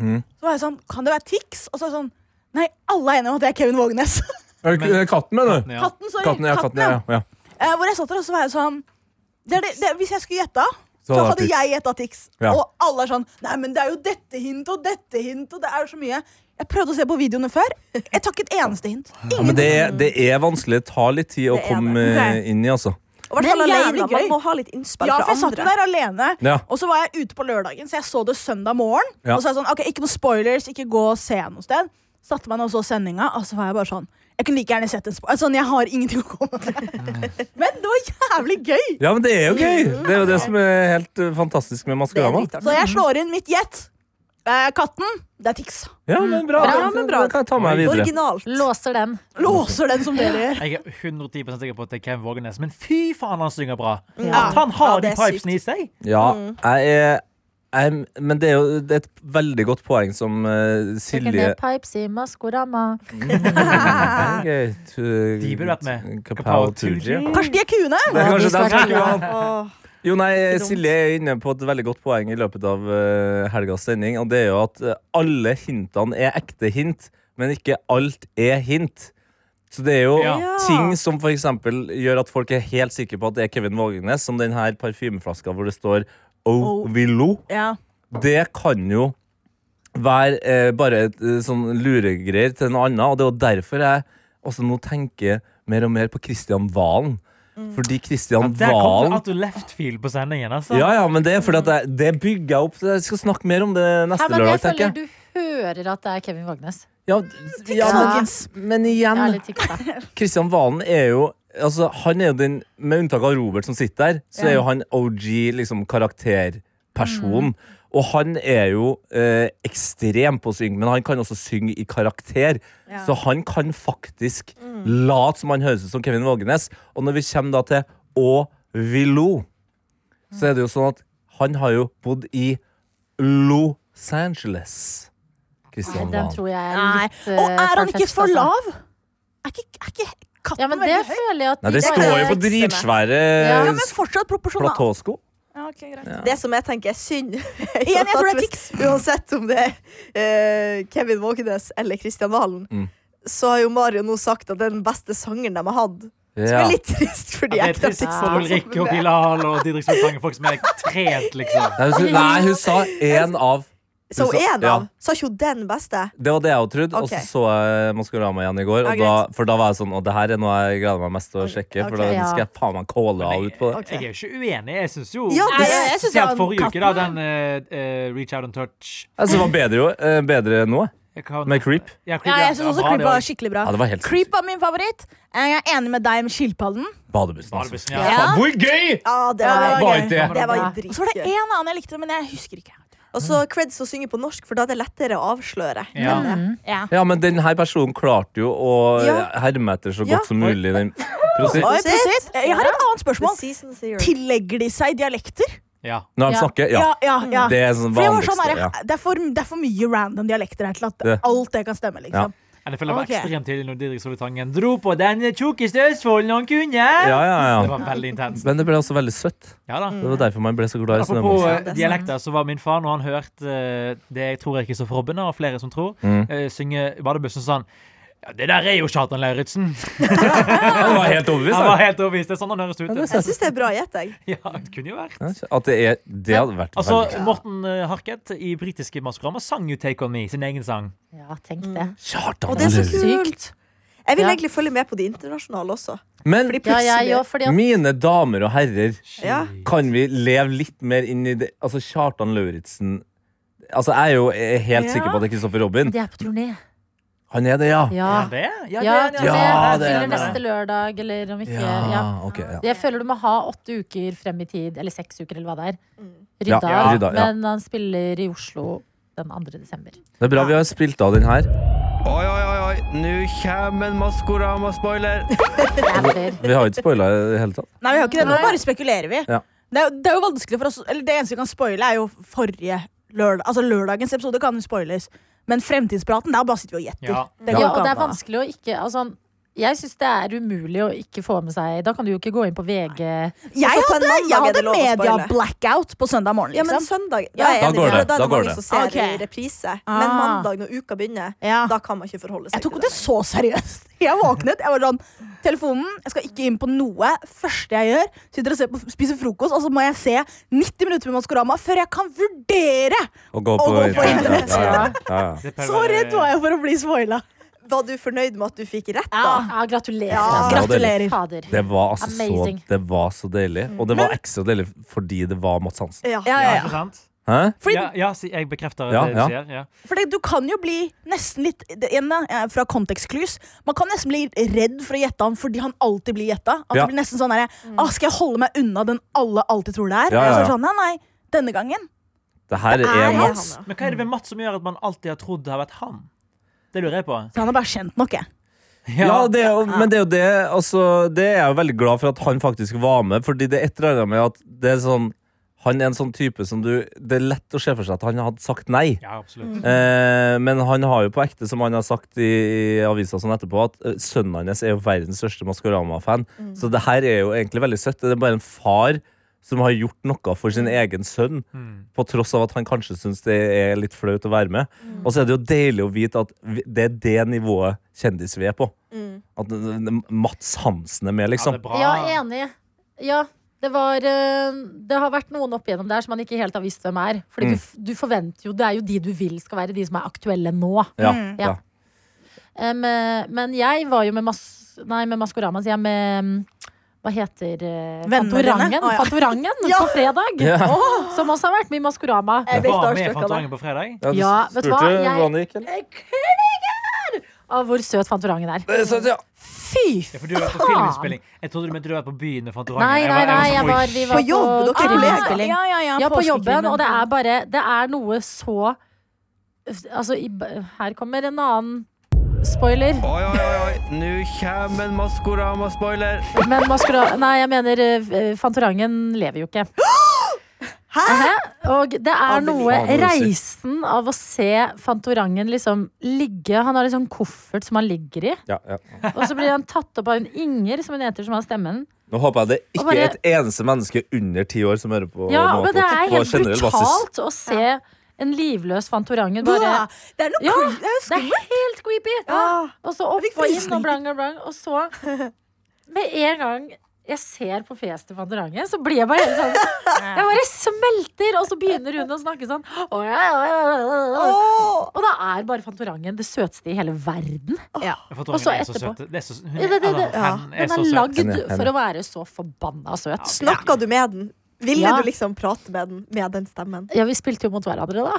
Speaker 4: Så var jeg sånn, kan det være Tix? Og så er jeg sånn, nei, alle er enige om at det er Kevin Vågenes.
Speaker 5: Er det ikke- Katten, mener du?
Speaker 6: Ja.
Speaker 4: <laughs> Katten, sorry.
Speaker 5: Katten, ja. Katten, ja. ja.
Speaker 4: Eh, hvor jeg satt der, og så var jeg sånn det er det, det, Hvis jeg skulle gjette, så,
Speaker 5: Så hadde
Speaker 4: hadde
Speaker 5: det vært Tix.
Speaker 4: jeg gjetta Tix.
Speaker 5: Ja.
Speaker 4: Og alle er sånn Nei, men det er jo dette hint og dette hint, og det er jo så mye. Jeg prøvde å se på videoene før. Jeg tar ikke et eneste hint.
Speaker 5: ja men det er, det er vanskelig. Det tar litt tid å
Speaker 3: Det er
Speaker 5: komme
Speaker 4: det.
Speaker 5: eh, inn i, altså.
Speaker 3: Og i hvert
Speaker 4: Men
Speaker 3: fall
Speaker 4: jævlig
Speaker 3: alene.
Speaker 4: gøy.
Speaker 3: Man må ha litt innspill
Speaker 4: Ja, for
Speaker 3: fra
Speaker 4: jeg satt jo
Speaker 3: andre.
Speaker 4: der alene.
Speaker 5: Ja.
Speaker 4: Og så var jeg ute på lørdagen, så jeg så det søndag morgen.
Speaker 5: Ja.
Speaker 4: Og så er jeg sånn, ok, Ikke noe spoilers, ikke gå og se noe sted. Satte meg ned og så sendinga, og så var jeg bare sånn Jeg kunne like gjerne sett en spoiler. Sånn, jeg har ingenting å komme <laughs> med. Men det var jævlig gøy!
Speaker 5: ja, men det er jo gøy! Det er jo det som er helt eh, fantastisk
Speaker 3: Det
Speaker 5: med
Speaker 3: er
Speaker 5: Maskorama.
Speaker 3: dritartig.
Speaker 4: Så jeg slår inn mitt gjett. Eh, katten, det er Tix.
Speaker 5: Ja, men bra.
Speaker 2: Bra, men bra.
Speaker 5: Det kan jeg ta meg videre.
Speaker 3: Originalt.
Speaker 2: Låser den.
Speaker 4: Låser den som dere gjør.
Speaker 6: Jeg er 110 sikker på at det er Kevin Vågenes, men fy faen, han synger bra!
Speaker 3: Ja.
Speaker 6: At han
Speaker 3: Ja,
Speaker 6: har
Speaker 3: det
Speaker 6: de
Speaker 3: er
Speaker 6: pipesene i seg!
Speaker 5: Ja, jeg er jeg, men det er jo det er et veldig godt poeng som eh,
Speaker 2: Taken
Speaker 5: Silje
Speaker 2: the pipes i Maskorama.
Speaker 5: De eh,
Speaker 6: De burde vært med.
Speaker 5: Kapow
Speaker 6: Kapow Tuji.
Speaker 5: Tuji.
Speaker 4: Kanskje de er kuene?
Speaker 5: Det er
Speaker 2: Ja, de
Speaker 5: kanskje
Speaker 2: skal
Speaker 5: dem som
Speaker 2: være
Speaker 5: skulle
Speaker 2: med.
Speaker 5: ha
Speaker 3: Åh,
Speaker 5: Jo, nei, Silje er inne på et veldig godt poeng i løpet av eh, helgas sending, og det er jo at eh, alle hintene er ekte hint, men ikke alt er hint. Så det er jo
Speaker 6: Ja.
Speaker 5: ting som for eksempel gjør at folk er helt sikre på at det er Kevin Vågenes, som den her parfymeflaska hvor det står Ovilo.
Speaker 4: Ja.
Speaker 5: Det kan jo være eh, bare et eh, sånn luregreier til en annen, og det er jo derfor jeg også nå tenker mer og mer på Kristian Valen.
Speaker 2: Mm.
Speaker 5: Fordi Kristian
Speaker 6: Der kom
Speaker 5: Valen
Speaker 6: det at du left field på sendingen. Altså.
Speaker 5: ja, ja, men det er fordi at jeg, det bygger jeg opp. Jeg skal snakke mer om det
Speaker 2: Nei,
Speaker 5: neste
Speaker 2: men jeg
Speaker 5: lørdag, tenker
Speaker 2: føler
Speaker 5: jeg.
Speaker 2: du hører at det er Kevin Vågenes.
Speaker 5: Ja, ja, men, men
Speaker 2: Jeg er
Speaker 5: igjen,
Speaker 2: litt
Speaker 5: <laughs>
Speaker 2: tiksa.
Speaker 5: Kristian Valen er jo Altså, han er jo den, Med unntak av Robert som sitter der, så er jo han OG liksom karakterperson. Og han er jo eh, ekstrem på å synge, men han kan også synge i karakter. Så han kan faktisk
Speaker 2: Mm.
Speaker 5: late som han høres ut som Kevin Vågenes. Og når vi kommer da til Å Villo, så er det jo sånn at han har jo bodd i Los Angeles.
Speaker 2: Nei,
Speaker 5: Kristian
Speaker 2: Den
Speaker 5: Valen.
Speaker 2: tror jeg er
Speaker 4: Nei.
Speaker 2: litt
Speaker 4: Og er han ikke
Speaker 2: farfetched,
Speaker 4: for
Speaker 2: altså.
Speaker 4: lav? Er ikke, er ikke katten
Speaker 2: Ja, men det
Speaker 4: veldig høy?
Speaker 2: føler jeg at
Speaker 5: Nei, det
Speaker 2: de
Speaker 3: kan
Speaker 5: står
Speaker 2: bare-
Speaker 5: jo på
Speaker 3: fikse med.
Speaker 5: dritsvære
Speaker 2: Ja,
Speaker 4: Ja, men fortsatt proporsjonal.
Speaker 5: platåsko.
Speaker 4: Ja, ok, greit.
Speaker 3: Det som jeg tenker er synd <laughs> er jo
Speaker 4: Igjen, jeg tror
Speaker 3: at
Speaker 4: det er
Speaker 3: hvis- Uansett om det er eh, Kevin Vågenes eller Kristian Valen,
Speaker 5: Mm.
Speaker 3: så har jo Mario nå sagt at det er den beste sangeren de har hatt. Som
Speaker 5: Ja.
Speaker 3: er litt trist, for de
Speaker 6: Det er
Speaker 3: ekte
Speaker 6: trist for
Speaker 3: artistene.
Speaker 6: Ulrikke og Bilal og Didrik Soltangen, folk som er trent, liksom.
Speaker 5: Nei, hun, nei, hun sa én av.
Speaker 3: Så
Speaker 5: Hun sa-
Speaker 3: én
Speaker 5: ja.
Speaker 3: av. Sa ikke hun den beste?
Speaker 5: Det var det jeg jo trodde.
Speaker 3: Ok.
Speaker 5: Og så så jeg Maskorama igjen i går.
Speaker 3: Ja,
Speaker 5: Og da, for da var jeg sånn Og det her er noe jeg gleder meg mest til å sjekke. For da
Speaker 2: Ok, ja.
Speaker 5: skal jeg faen meg calle av ut på det.
Speaker 6: Jeg er jo ikke uenig. Jeg syns jo
Speaker 3: Ja, det-
Speaker 6: Jeg-
Speaker 4: jeg synes
Speaker 6: Spesielt
Speaker 4: han-
Speaker 6: forrige uke, da. Den
Speaker 4: katten-
Speaker 6: eh, eh, Reach Out and Touch.
Speaker 5: Jeg synes det var bedre, jo, eh, bedre nå,
Speaker 6: Jeg kan-
Speaker 5: med Creep.
Speaker 6: Ja, creep,
Speaker 4: Ja,
Speaker 6: ja.
Speaker 4: jeg syns også
Speaker 6: Ja, bra,
Speaker 4: Creep
Speaker 6: det
Speaker 4: var
Speaker 6: også.
Speaker 4: skikkelig bra.
Speaker 5: Ja, det var helt
Speaker 4: Creep var min favoritt. Jeg er enig med deg med skilpadden.
Speaker 5: Badebussen. Altså.
Speaker 6: Badebussen,
Speaker 4: Ja.
Speaker 6: ja.
Speaker 5: Faen, hvor gøy!
Speaker 3: Ja, det
Speaker 4: Ja, det
Speaker 3: var,
Speaker 4: var
Speaker 5: Bare
Speaker 4: gøy.
Speaker 5: det.
Speaker 3: det. det var jo
Speaker 2: Ja.
Speaker 4: Og så var det
Speaker 3: dritgøy.
Speaker 4: en annen jeg likte, men jeg husker ikke.
Speaker 3: Og så creds å synge på norsk, for da er det lettere å avsløre.
Speaker 6: Ja.
Speaker 3: Men, eh,
Speaker 4: Ja.
Speaker 5: Ja, men denne personen klarte jo å
Speaker 3: Ja.
Speaker 5: herme etter så
Speaker 3: Ja.
Speaker 5: godt som mulig. Den. prosi-
Speaker 4: Oi,
Speaker 3: Prosit.
Speaker 4: prosit. Jeg har et annet
Speaker 3: The
Speaker 4: spørsmål.
Speaker 3: season's here.
Speaker 4: Tillegger de seg dialekter?
Speaker 6: Ja.
Speaker 5: Når de
Speaker 2: Ja.
Speaker 5: snakker, ja.
Speaker 4: ja, ja.
Speaker 5: Det er sånn
Speaker 4: For jeg var sånn,
Speaker 5: vanligste.
Speaker 4: der,
Speaker 5: Ja.
Speaker 4: det, er for, det er for mye random dialekter her til at
Speaker 5: Det.
Speaker 4: alt det kan stemme. liksom
Speaker 6: Men Jeg føler det var
Speaker 4: Ok.
Speaker 6: ekstremt tidlig når Didrik Soltangen dro på den tjukkeste Østfolden han kunne.
Speaker 5: Ja, ja,
Speaker 6: Det
Speaker 5: ja.
Speaker 6: var veldig intenst.
Speaker 5: Men det ble også veldig søtt.
Speaker 6: Ja da.
Speaker 4: Mm.
Speaker 5: Det sånn, var derfor man ble så glad i
Speaker 6: Apropos
Speaker 5: snømåsen.
Speaker 6: eh,
Speaker 4: sånn.
Speaker 6: dialekter, så var min far, når han hørte eh, det jeg tror er Kristoffer Robben, og flere som tror,
Speaker 5: Mm.
Speaker 6: eh, synge i badebussen, sa han ja, det der er jo
Speaker 4: <laughs>
Speaker 6: Kjartan Lauritzen!
Speaker 5: Han var helt overbevist.
Speaker 6: Han
Speaker 5: da.
Speaker 6: var helt overbevist. Det er sånn han høres ut.
Speaker 3: Jeg syns det er bra gjett, jeg.
Speaker 6: Ja, det kunne jo vært.
Speaker 5: Ja, så At det er Det hadde vært
Speaker 6: Altså,
Speaker 5: veldig
Speaker 6: Morten eh, Harket i britiske Maskorama sang jo Take On Me, sin egen sang.
Speaker 2: Ja, tenk
Speaker 5: Mm.
Speaker 2: det.
Speaker 5: Kjartan
Speaker 3: Og det er så
Speaker 5: Lauritzen.
Speaker 3: kult. Jeg vil
Speaker 2: Ja.
Speaker 3: egentlig følge med på de internasjonale også.
Speaker 5: Men
Speaker 3: Fordi
Speaker 2: Ja, jeg
Speaker 3: plutselig
Speaker 2: òg, fordi at
Speaker 5: mine damer og herrer,
Speaker 3: Ja.
Speaker 5: kan vi leve litt mer inn i det Altså, Kjartan Lauritzen Altså, jeg er jo eh, helt
Speaker 4: Ja.
Speaker 5: sikker på at det er Kristoffer Robin.
Speaker 2: de er på turné.
Speaker 5: Han er det, ja.
Speaker 6: Er
Speaker 2: Ja.
Speaker 6: han det?
Speaker 2: Ja,
Speaker 6: Ja,
Speaker 2: turné.
Speaker 6: det, er han, ja.
Speaker 5: Ja, det er
Speaker 2: Spiller
Speaker 5: det.
Speaker 2: neste lørdag, eller om ikke Ja.
Speaker 5: ok. Ja.
Speaker 2: Jeg føler du må ha åtte uker frem i tid, eller seks uker, eller hva det er.
Speaker 5: Ja,
Speaker 2: Rydda,
Speaker 5: ja, rydda, ja.
Speaker 2: men han spiller i Oslo den 2. desember.
Speaker 5: Det er bra vi har spilt av den her.
Speaker 7: Oi, oi, oi, oi. Nå kommer en Maskorama-spoiler.
Speaker 2: Jeg
Speaker 5: Vi har jo ikke spoila i det hele tatt.
Speaker 4: Nei, vi har ikke det. Nå bare spekulerer vi.
Speaker 5: Ja.
Speaker 4: Det, er, jo- det er jo vanskelig for oss Eller det eneste vi kan spoile, er jo forrige lørdag. Altså Lørdagens episode kan jo spoiles. Men fremtidspraten, der bare sitter vi og gjetter.
Speaker 6: Ja.
Speaker 4: Det går
Speaker 2: Ja,
Speaker 4: ikke
Speaker 2: og det
Speaker 4: an,
Speaker 2: er
Speaker 4: da.
Speaker 2: vanskelig å ikke altså, Jeg syns det er umulig å ikke få med seg Da kan du jo ikke gå inn på VG
Speaker 4: Jeg
Speaker 3: Altså, på en
Speaker 4: hadde,
Speaker 3: mandag
Speaker 4: jeg
Speaker 3: er det
Speaker 4: hadde
Speaker 3: lov å spoile.
Speaker 4: media-blackout på søndag morgen.
Speaker 3: Ja,
Speaker 4: Liksom.
Speaker 3: men søndag
Speaker 4: Ja.
Speaker 3: Da,
Speaker 4: Ah,
Speaker 3: er jeg
Speaker 5: Da
Speaker 3: enig, for
Speaker 5: går det,
Speaker 3: da er
Speaker 5: da
Speaker 3: det
Speaker 5: går
Speaker 3: mange
Speaker 5: det.
Speaker 3: som ser
Speaker 4: Ok.
Speaker 3: i reprise. Men
Speaker 4: Ah.
Speaker 3: mandag, når uka begynner,
Speaker 4: Ja.
Speaker 3: da kan man ikke forholde seg
Speaker 4: Jeg tok
Speaker 3: til
Speaker 4: ikke det så seriøst. Jeg våknet, jeg var sånn Telefonen, jeg skal ikke inn på noe. Første jeg gjør, sitter og ser på, spiser frokost, og så må jeg se 90 minutter med Maskorama før jeg kan vurdere!
Speaker 5: Å
Speaker 4: Å
Speaker 5: gå på
Speaker 4: gå på
Speaker 5: internett.
Speaker 4: internett,
Speaker 5: Ja, ja, ja. ja.
Speaker 6: Det eh, pleier å
Speaker 4: Så
Speaker 6: være-
Speaker 4: redd var jeg for å bli spoila.
Speaker 3: Var du fornøyd med at du fikk rett, da?
Speaker 4: Ja.
Speaker 2: Ja, gratulerer.
Speaker 3: Ja.
Speaker 2: altså.
Speaker 5: Gratulerer.
Speaker 2: Fader.
Speaker 5: Det var altså så,
Speaker 2: Amazing.
Speaker 5: det var så deilig. Og det var ekstra deilig fordi det var Mads Hansen.
Speaker 3: Ja.
Speaker 4: Ja,
Speaker 6: Ja,
Speaker 4: ja,
Speaker 6: ikke
Speaker 4: ja.
Speaker 6: sant?
Speaker 5: Hæ?
Speaker 4: Fordi,
Speaker 6: Ja, ja, si- jeg bekrefter
Speaker 5: Ja,
Speaker 6: det du
Speaker 5: ja.
Speaker 6: sier. Ja.
Speaker 4: fordi du kan jo bli nesten litt det ene er Fra kontekstklys. Man kan nesten bli redd for å gjette han fordi han alltid blir gjetta. At
Speaker 5: Ja.
Speaker 4: det blir nesten sånn derre «Ah, Skal jeg holde meg unna den alle alltid tror det er?
Speaker 5: Ja, ja,
Speaker 4: Og så er det
Speaker 5: ja.
Speaker 4: sånn, nei, nei, denne gangen.
Speaker 5: Det her
Speaker 4: Det er
Speaker 5: er Mads.
Speaker 3: han,
Speaker 6: Men hva er det ved Mats som gjør at man alltid har trodd det har vært han? Det lurer jeg på.
Speaker 4: Så han er bare kjent nok, jeg.
Speaker 5: Ja, det er jo, men det er jo det altså, Det er jeg jo veldig glad for at han faktisk var med, Fordi det er et eller annet med at det er sånn, han er en sånn type som du Det er lett å se for seg at han hadde sagt nei.
Speaker 6: Ja, absolutt.
Speaker 5: Eh, men han har jo på ekte, som han har sagt i, i avisa sånn etterpå, at eh, Mm. sønnen hans er jo verdens største Maskorama-fan. Så det her er jo egentlig veldig søtt. Det er bare en far som har gjort noe for sin egen sønn, på tross av at han kanskje syns det er litt flaut å være med. Og så er det jo deilig å vite at vi- det er det nivået kjendis vi er på.
Speaker 3: Mm.
Speaker 5: At det- det- Mats Hansen er med,
Speaker 6: Ja, det
Speaker 5: liksom.
Speaker 6: er bra.
Speaker 2: Ja, enig. Ja, det var eh, Det har vært noen opp igjennom der som man ikke helt har visst hvem er. Fordi
Speaker 5: Mm.
Speaker 2: du, f- du forventer jo Det er jo de du vil skal være de som er aktuelle nå.
Speaker 5: Ja,
Speaker 4: Mm.
Speaker 5: ja.
Speaker 2: Ja. Em, eh, men jeg var jo med mas... Nei, med Maskorama, sier jeg. Med mm, hva heter eh,
Speaker 4: Vennene dine?
Speaker 2: Fantorangen,
Speaker 4: Å, ja.
Speaker 2: Fantorangen <laughs>
Speaker 4: Ja.
Speaker 2: på fredag!
Speaker 5: Ja.
Speaker 2: Åh, som også har vært med i Maskorama.
Speaker 3: Jeg ble
Speaker 6: Var med
Speaker 3: starstruck av det.
Speaker 6: Fantorangen på fredag.
Speaker 5: Ja, du
Speaker 2: Ja, vet du hva?
Speaker 5: spurte
Speaker 2: Jeg-
Speaker 5: hvordan det gikk, eller?
Speaker 2: Jeg klinger Av hvor søt Fantorangen er.
Speaker 5: Det er sant, ja.
Speaker 2: Fy
Speaker 6: Ja, for du har vært på filminnspilling. Jeg trodde du mente du var på byen med Fantorangen.
Speaker 2: Nei, nei, nei. Jeg
Speaker 6: sånn, oi,
Speaker 2: var, vi var
Speaker 3: På jobb, dere er
Speaker 2: filminnspilling.
Speaker 4: Ah, Ja, ja, ja,
Speaker 2: Ja, på jobben,
Speaker 4: påskekrimmen.
Speaker 2: og det er bare Det er noe så Altså, i, her kommer en annen spoiler.
Speaker 7: Oi, oi, oi, oi. Nå kommer en Maskorama-spoiler.
Speaker 2: Men Maskorama Nei, jeg mener eh, Fantorangen lever jo ikke. Hæ? Og det er noe
Speaker 5: Fader, du sier.
Speaker 2: Reisen av å se Fantorangen liksom ligge Han har en sånn koffert som han ligger i,
Speaker 5: Ja, ja.
Speaker 2: og så blir han tatt opp av hun Inger, som hun heter, som har stemmen.
Speaker 5: Nå håper jeg det ikke
Speaker 2: Og bare-
Speaker 5: er et eneste menneske under ti år som hører på.
Speaker 2: Ja,
Speaker 5: nå
Speaker 2: men
Speaker 5: på,
Speaker 2: det er
Speaker 5: på
Speaker 2: helt
Speaker 5: generell basis.
Speaker 2: brutalt å se en livløs Fantorangen bare
Speaker 4: Blæ! Det er noe
Speaker 2: Ja,
Speaker 4: creepy. Det er
Speaker 2: Det er helt creepy!
Speaker 4: Ah,
Speaker 2: Og så opp
Speaker 4: Jeg fikk
Speaker 2: og inn
Speaker 4: frysninger.
Speaker 2: og blang og blang. Og så,
Speaker 4: <laughs>
Speaker 2: med en gang jeg ser på fjeset til Fantorangen, så blir jeg bare helt
Speaker 4: <laughs>
Speaker 2: sånn Jeg bare smelter, og så begynner hun å snakke sånn. «Å, ja, ja, ja, ja, ja».
Speaker 4: Åh!
Speaker 2: Og da er bare Fantorangen det søteste i hele verden.
Speaker 6: Fantorangen
Speaker 2: Og så
Speaker 6: er så
Speaker 2: etterpå.
Speaker 6: søt. Det er så, hun,
Speaker 2: Det, det, det,
Speaker 6: eller,
Speaker 2: ja.
Speaker 6: han er
Speaker 2: Den
Speaker 6: så
Speaker 2: er
Speaker 6: søt.
Speaker 2: lagd
Speaker 5: Henne, henne.
Speaker 2: for å være så forbanna søt.
Speaker 3: Snakka du med den? Ville
Speaker 2: Ja.
Speaker 3: du liksom prate med den med den stemmen?
Speaker 2: Ja, vi spilte jo mot hverandre, da.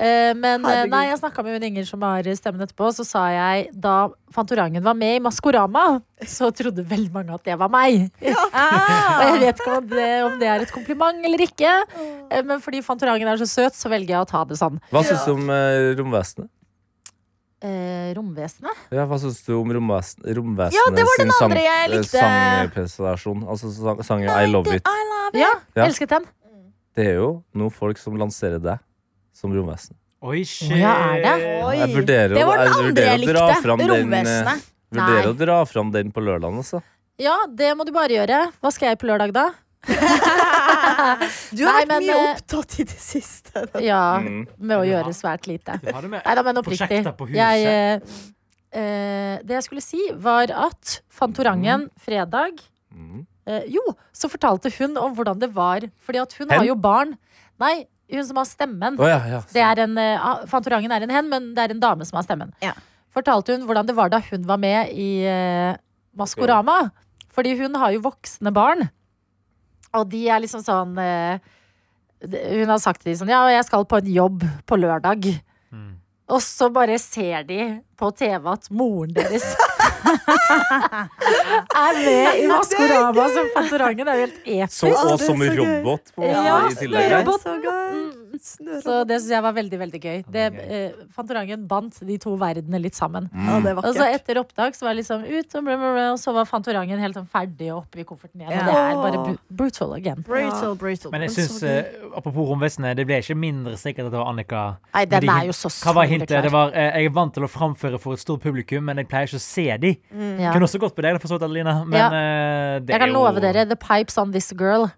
Speaker 2: Eh, Men eh,
Speaker 3: Herregud.
Speaker 2: nei, jeg snakka med hun Inger som har stemmen etterpå, så sa jeg da Fantorangen var med i Maskorama, så trodde veldig mange at det var meg.
Speaker 4: <laughs>
Speaker 2: Og jeg vet ikke om det, om det er et kompliment eller ikke, eh, men fordi Fantorangen er så søt, så velger jeg å ta det sånn.
Speaker 5: Hva syns du om eh, romvesenet?
Speaker 2: Eh, romvesenet?
Speaker 5: Ja, hva syns du om romvesen, romvesenet
Speaker 4: Ja, det var den
Speaker 5: sin sang-
Speaker 4: andre jeg
Speaker 5: eh,
Speaker 4: likte.
Speaker 5: sangpresentasjon? Altså sang- sangen I Love It.
Speaker 4: I love it.
Speaker 2: Ja,
Speaker 5: Ja.
Speaker 2: elsket den.
Speaker 5: Det er jo noen folk som lanserer deg som romvesen.
Speaker 6: Oi, shit.
Speaker 2: Å, ja, er det?
Speaker 6: Eh,
Speaker 4: Oi.
Speaker 5: Jeg vurderer, å-
Speaker 4: Det var den
Speaker 5: jeg
Speaker 4: andre jeg
Speaker 5: vurderer å dra
Speaker 4: likte.
Speaker 5: fram den, eh,
Speaker 4: Romvesenet.
Speaker 5: Vurderer
Speaker 2: Nei.
Speaker 5: å dra fram den på lørdag, altså.
Speaker 2: Ja, det må du bare gjøre. Hva skal jeg på lørdag, da?
Speaker 3: <laughs> Du har
Speaker 2: Nei,
Speaker 3: vært
Speaker 2: men,
Speaker 3: mye
Speaker 2: eh,
Speaker 3: opptatt i det siste.
Speaker 2: Ja,
Speaker 5: Mm.
Speaker 2: med å
Speaker 6: Ja.
Speaker 2: gjøre svært lite.
Speaker 6: Du hadde med
Speaker 2: Nei da, men oppriktig.
Speaker 6: Prosjekter på huset.
Speaker 2: Jeg, eh, eh, det jeg skulle si, var at Fantorangen fredag
Speaker 5: Mm.
Speaker 2: eh, Jo, så fortalte hun om hvordan det var. Fordi at hun
Speaker 5: Hen?
Speaker 2: har jo barn. Nei, hun som har stemmen.
Speaker 5: Å, ja, ja.
Speaker 2: Det er en, eh, ah, Fantorangen er en hen, men det er en dame som har stemmen.
Speaker 4: Ja.
Speaker 2: Fortalte hun hvordan det var da hun var med i eh, Maskorama. Fordi hun har jo voksne barn. Og de er liksom sånn eh, det- Hun har sagt til dem sånn Ja, jeg skal på en jobb på lørdag.
Speaker 6: Mm.
Speaker 2: Og så bare ser de på TV at moren <laughs> deres er med i Maskorama som Fantorangen. Det er jo helt episk.
Speaker 5: Så, og
Speaker 3: det er
Speaker 5: som
Speaker 3: så gøy.
Speaker 5: robot, på en måte,
Speaker 2: Ja,
Speaker 5: i tillegg.
Speaker 2: det er robot.
Speaker 3: Så gøy.
Speaker 4: Mm.
Speaker 2: Så det syns jeg var veldig veldig gøy. Det,
Speaker 6: Ja, det er
Speaker 2: eh, Fantorangen bandt de to verdenene litt sammen.
Speaker 3: Ja, det er
Speaker 4: Altså,
Speaker 2: Og så
Speaker 3: Mm. vakkert.
Speaker 2: etter opptak så var jeg liksom ut, og, bla, bla, bla, og så var Fantorangen helt sånn ferdig og oppe i kofferten igjen. Og det er bare bru- brutal again.
Speaker 4: Brutal, brutal.
Speaker 6: Men jeg syns, eh, apropos romvesenet, det ble ikke mindre sikkert at det var Annika.
Speaker 2: Nei,
Speaker 6: Men
Speaker 2: den
Speaker 6: de-
Speaker 2: er jo så
Speaker 6: Hva var hintet?
Speaker 2: soleklar.
Speaker 6: Det var, eh, jeg er vant til å framføre for et stort publikum, men jeg pleier ikke å se de.
Speaker 2: Ja.
Speaker 6: Kunne også gått på deg, da, for så vidt, Adelina. Men
Speaker 2: Ja.
Speaker 6: eh, det
Speaker 2: Jeg kan
Speaker 6: er jo
Speaker 2: love dere, The Pipes On This Girl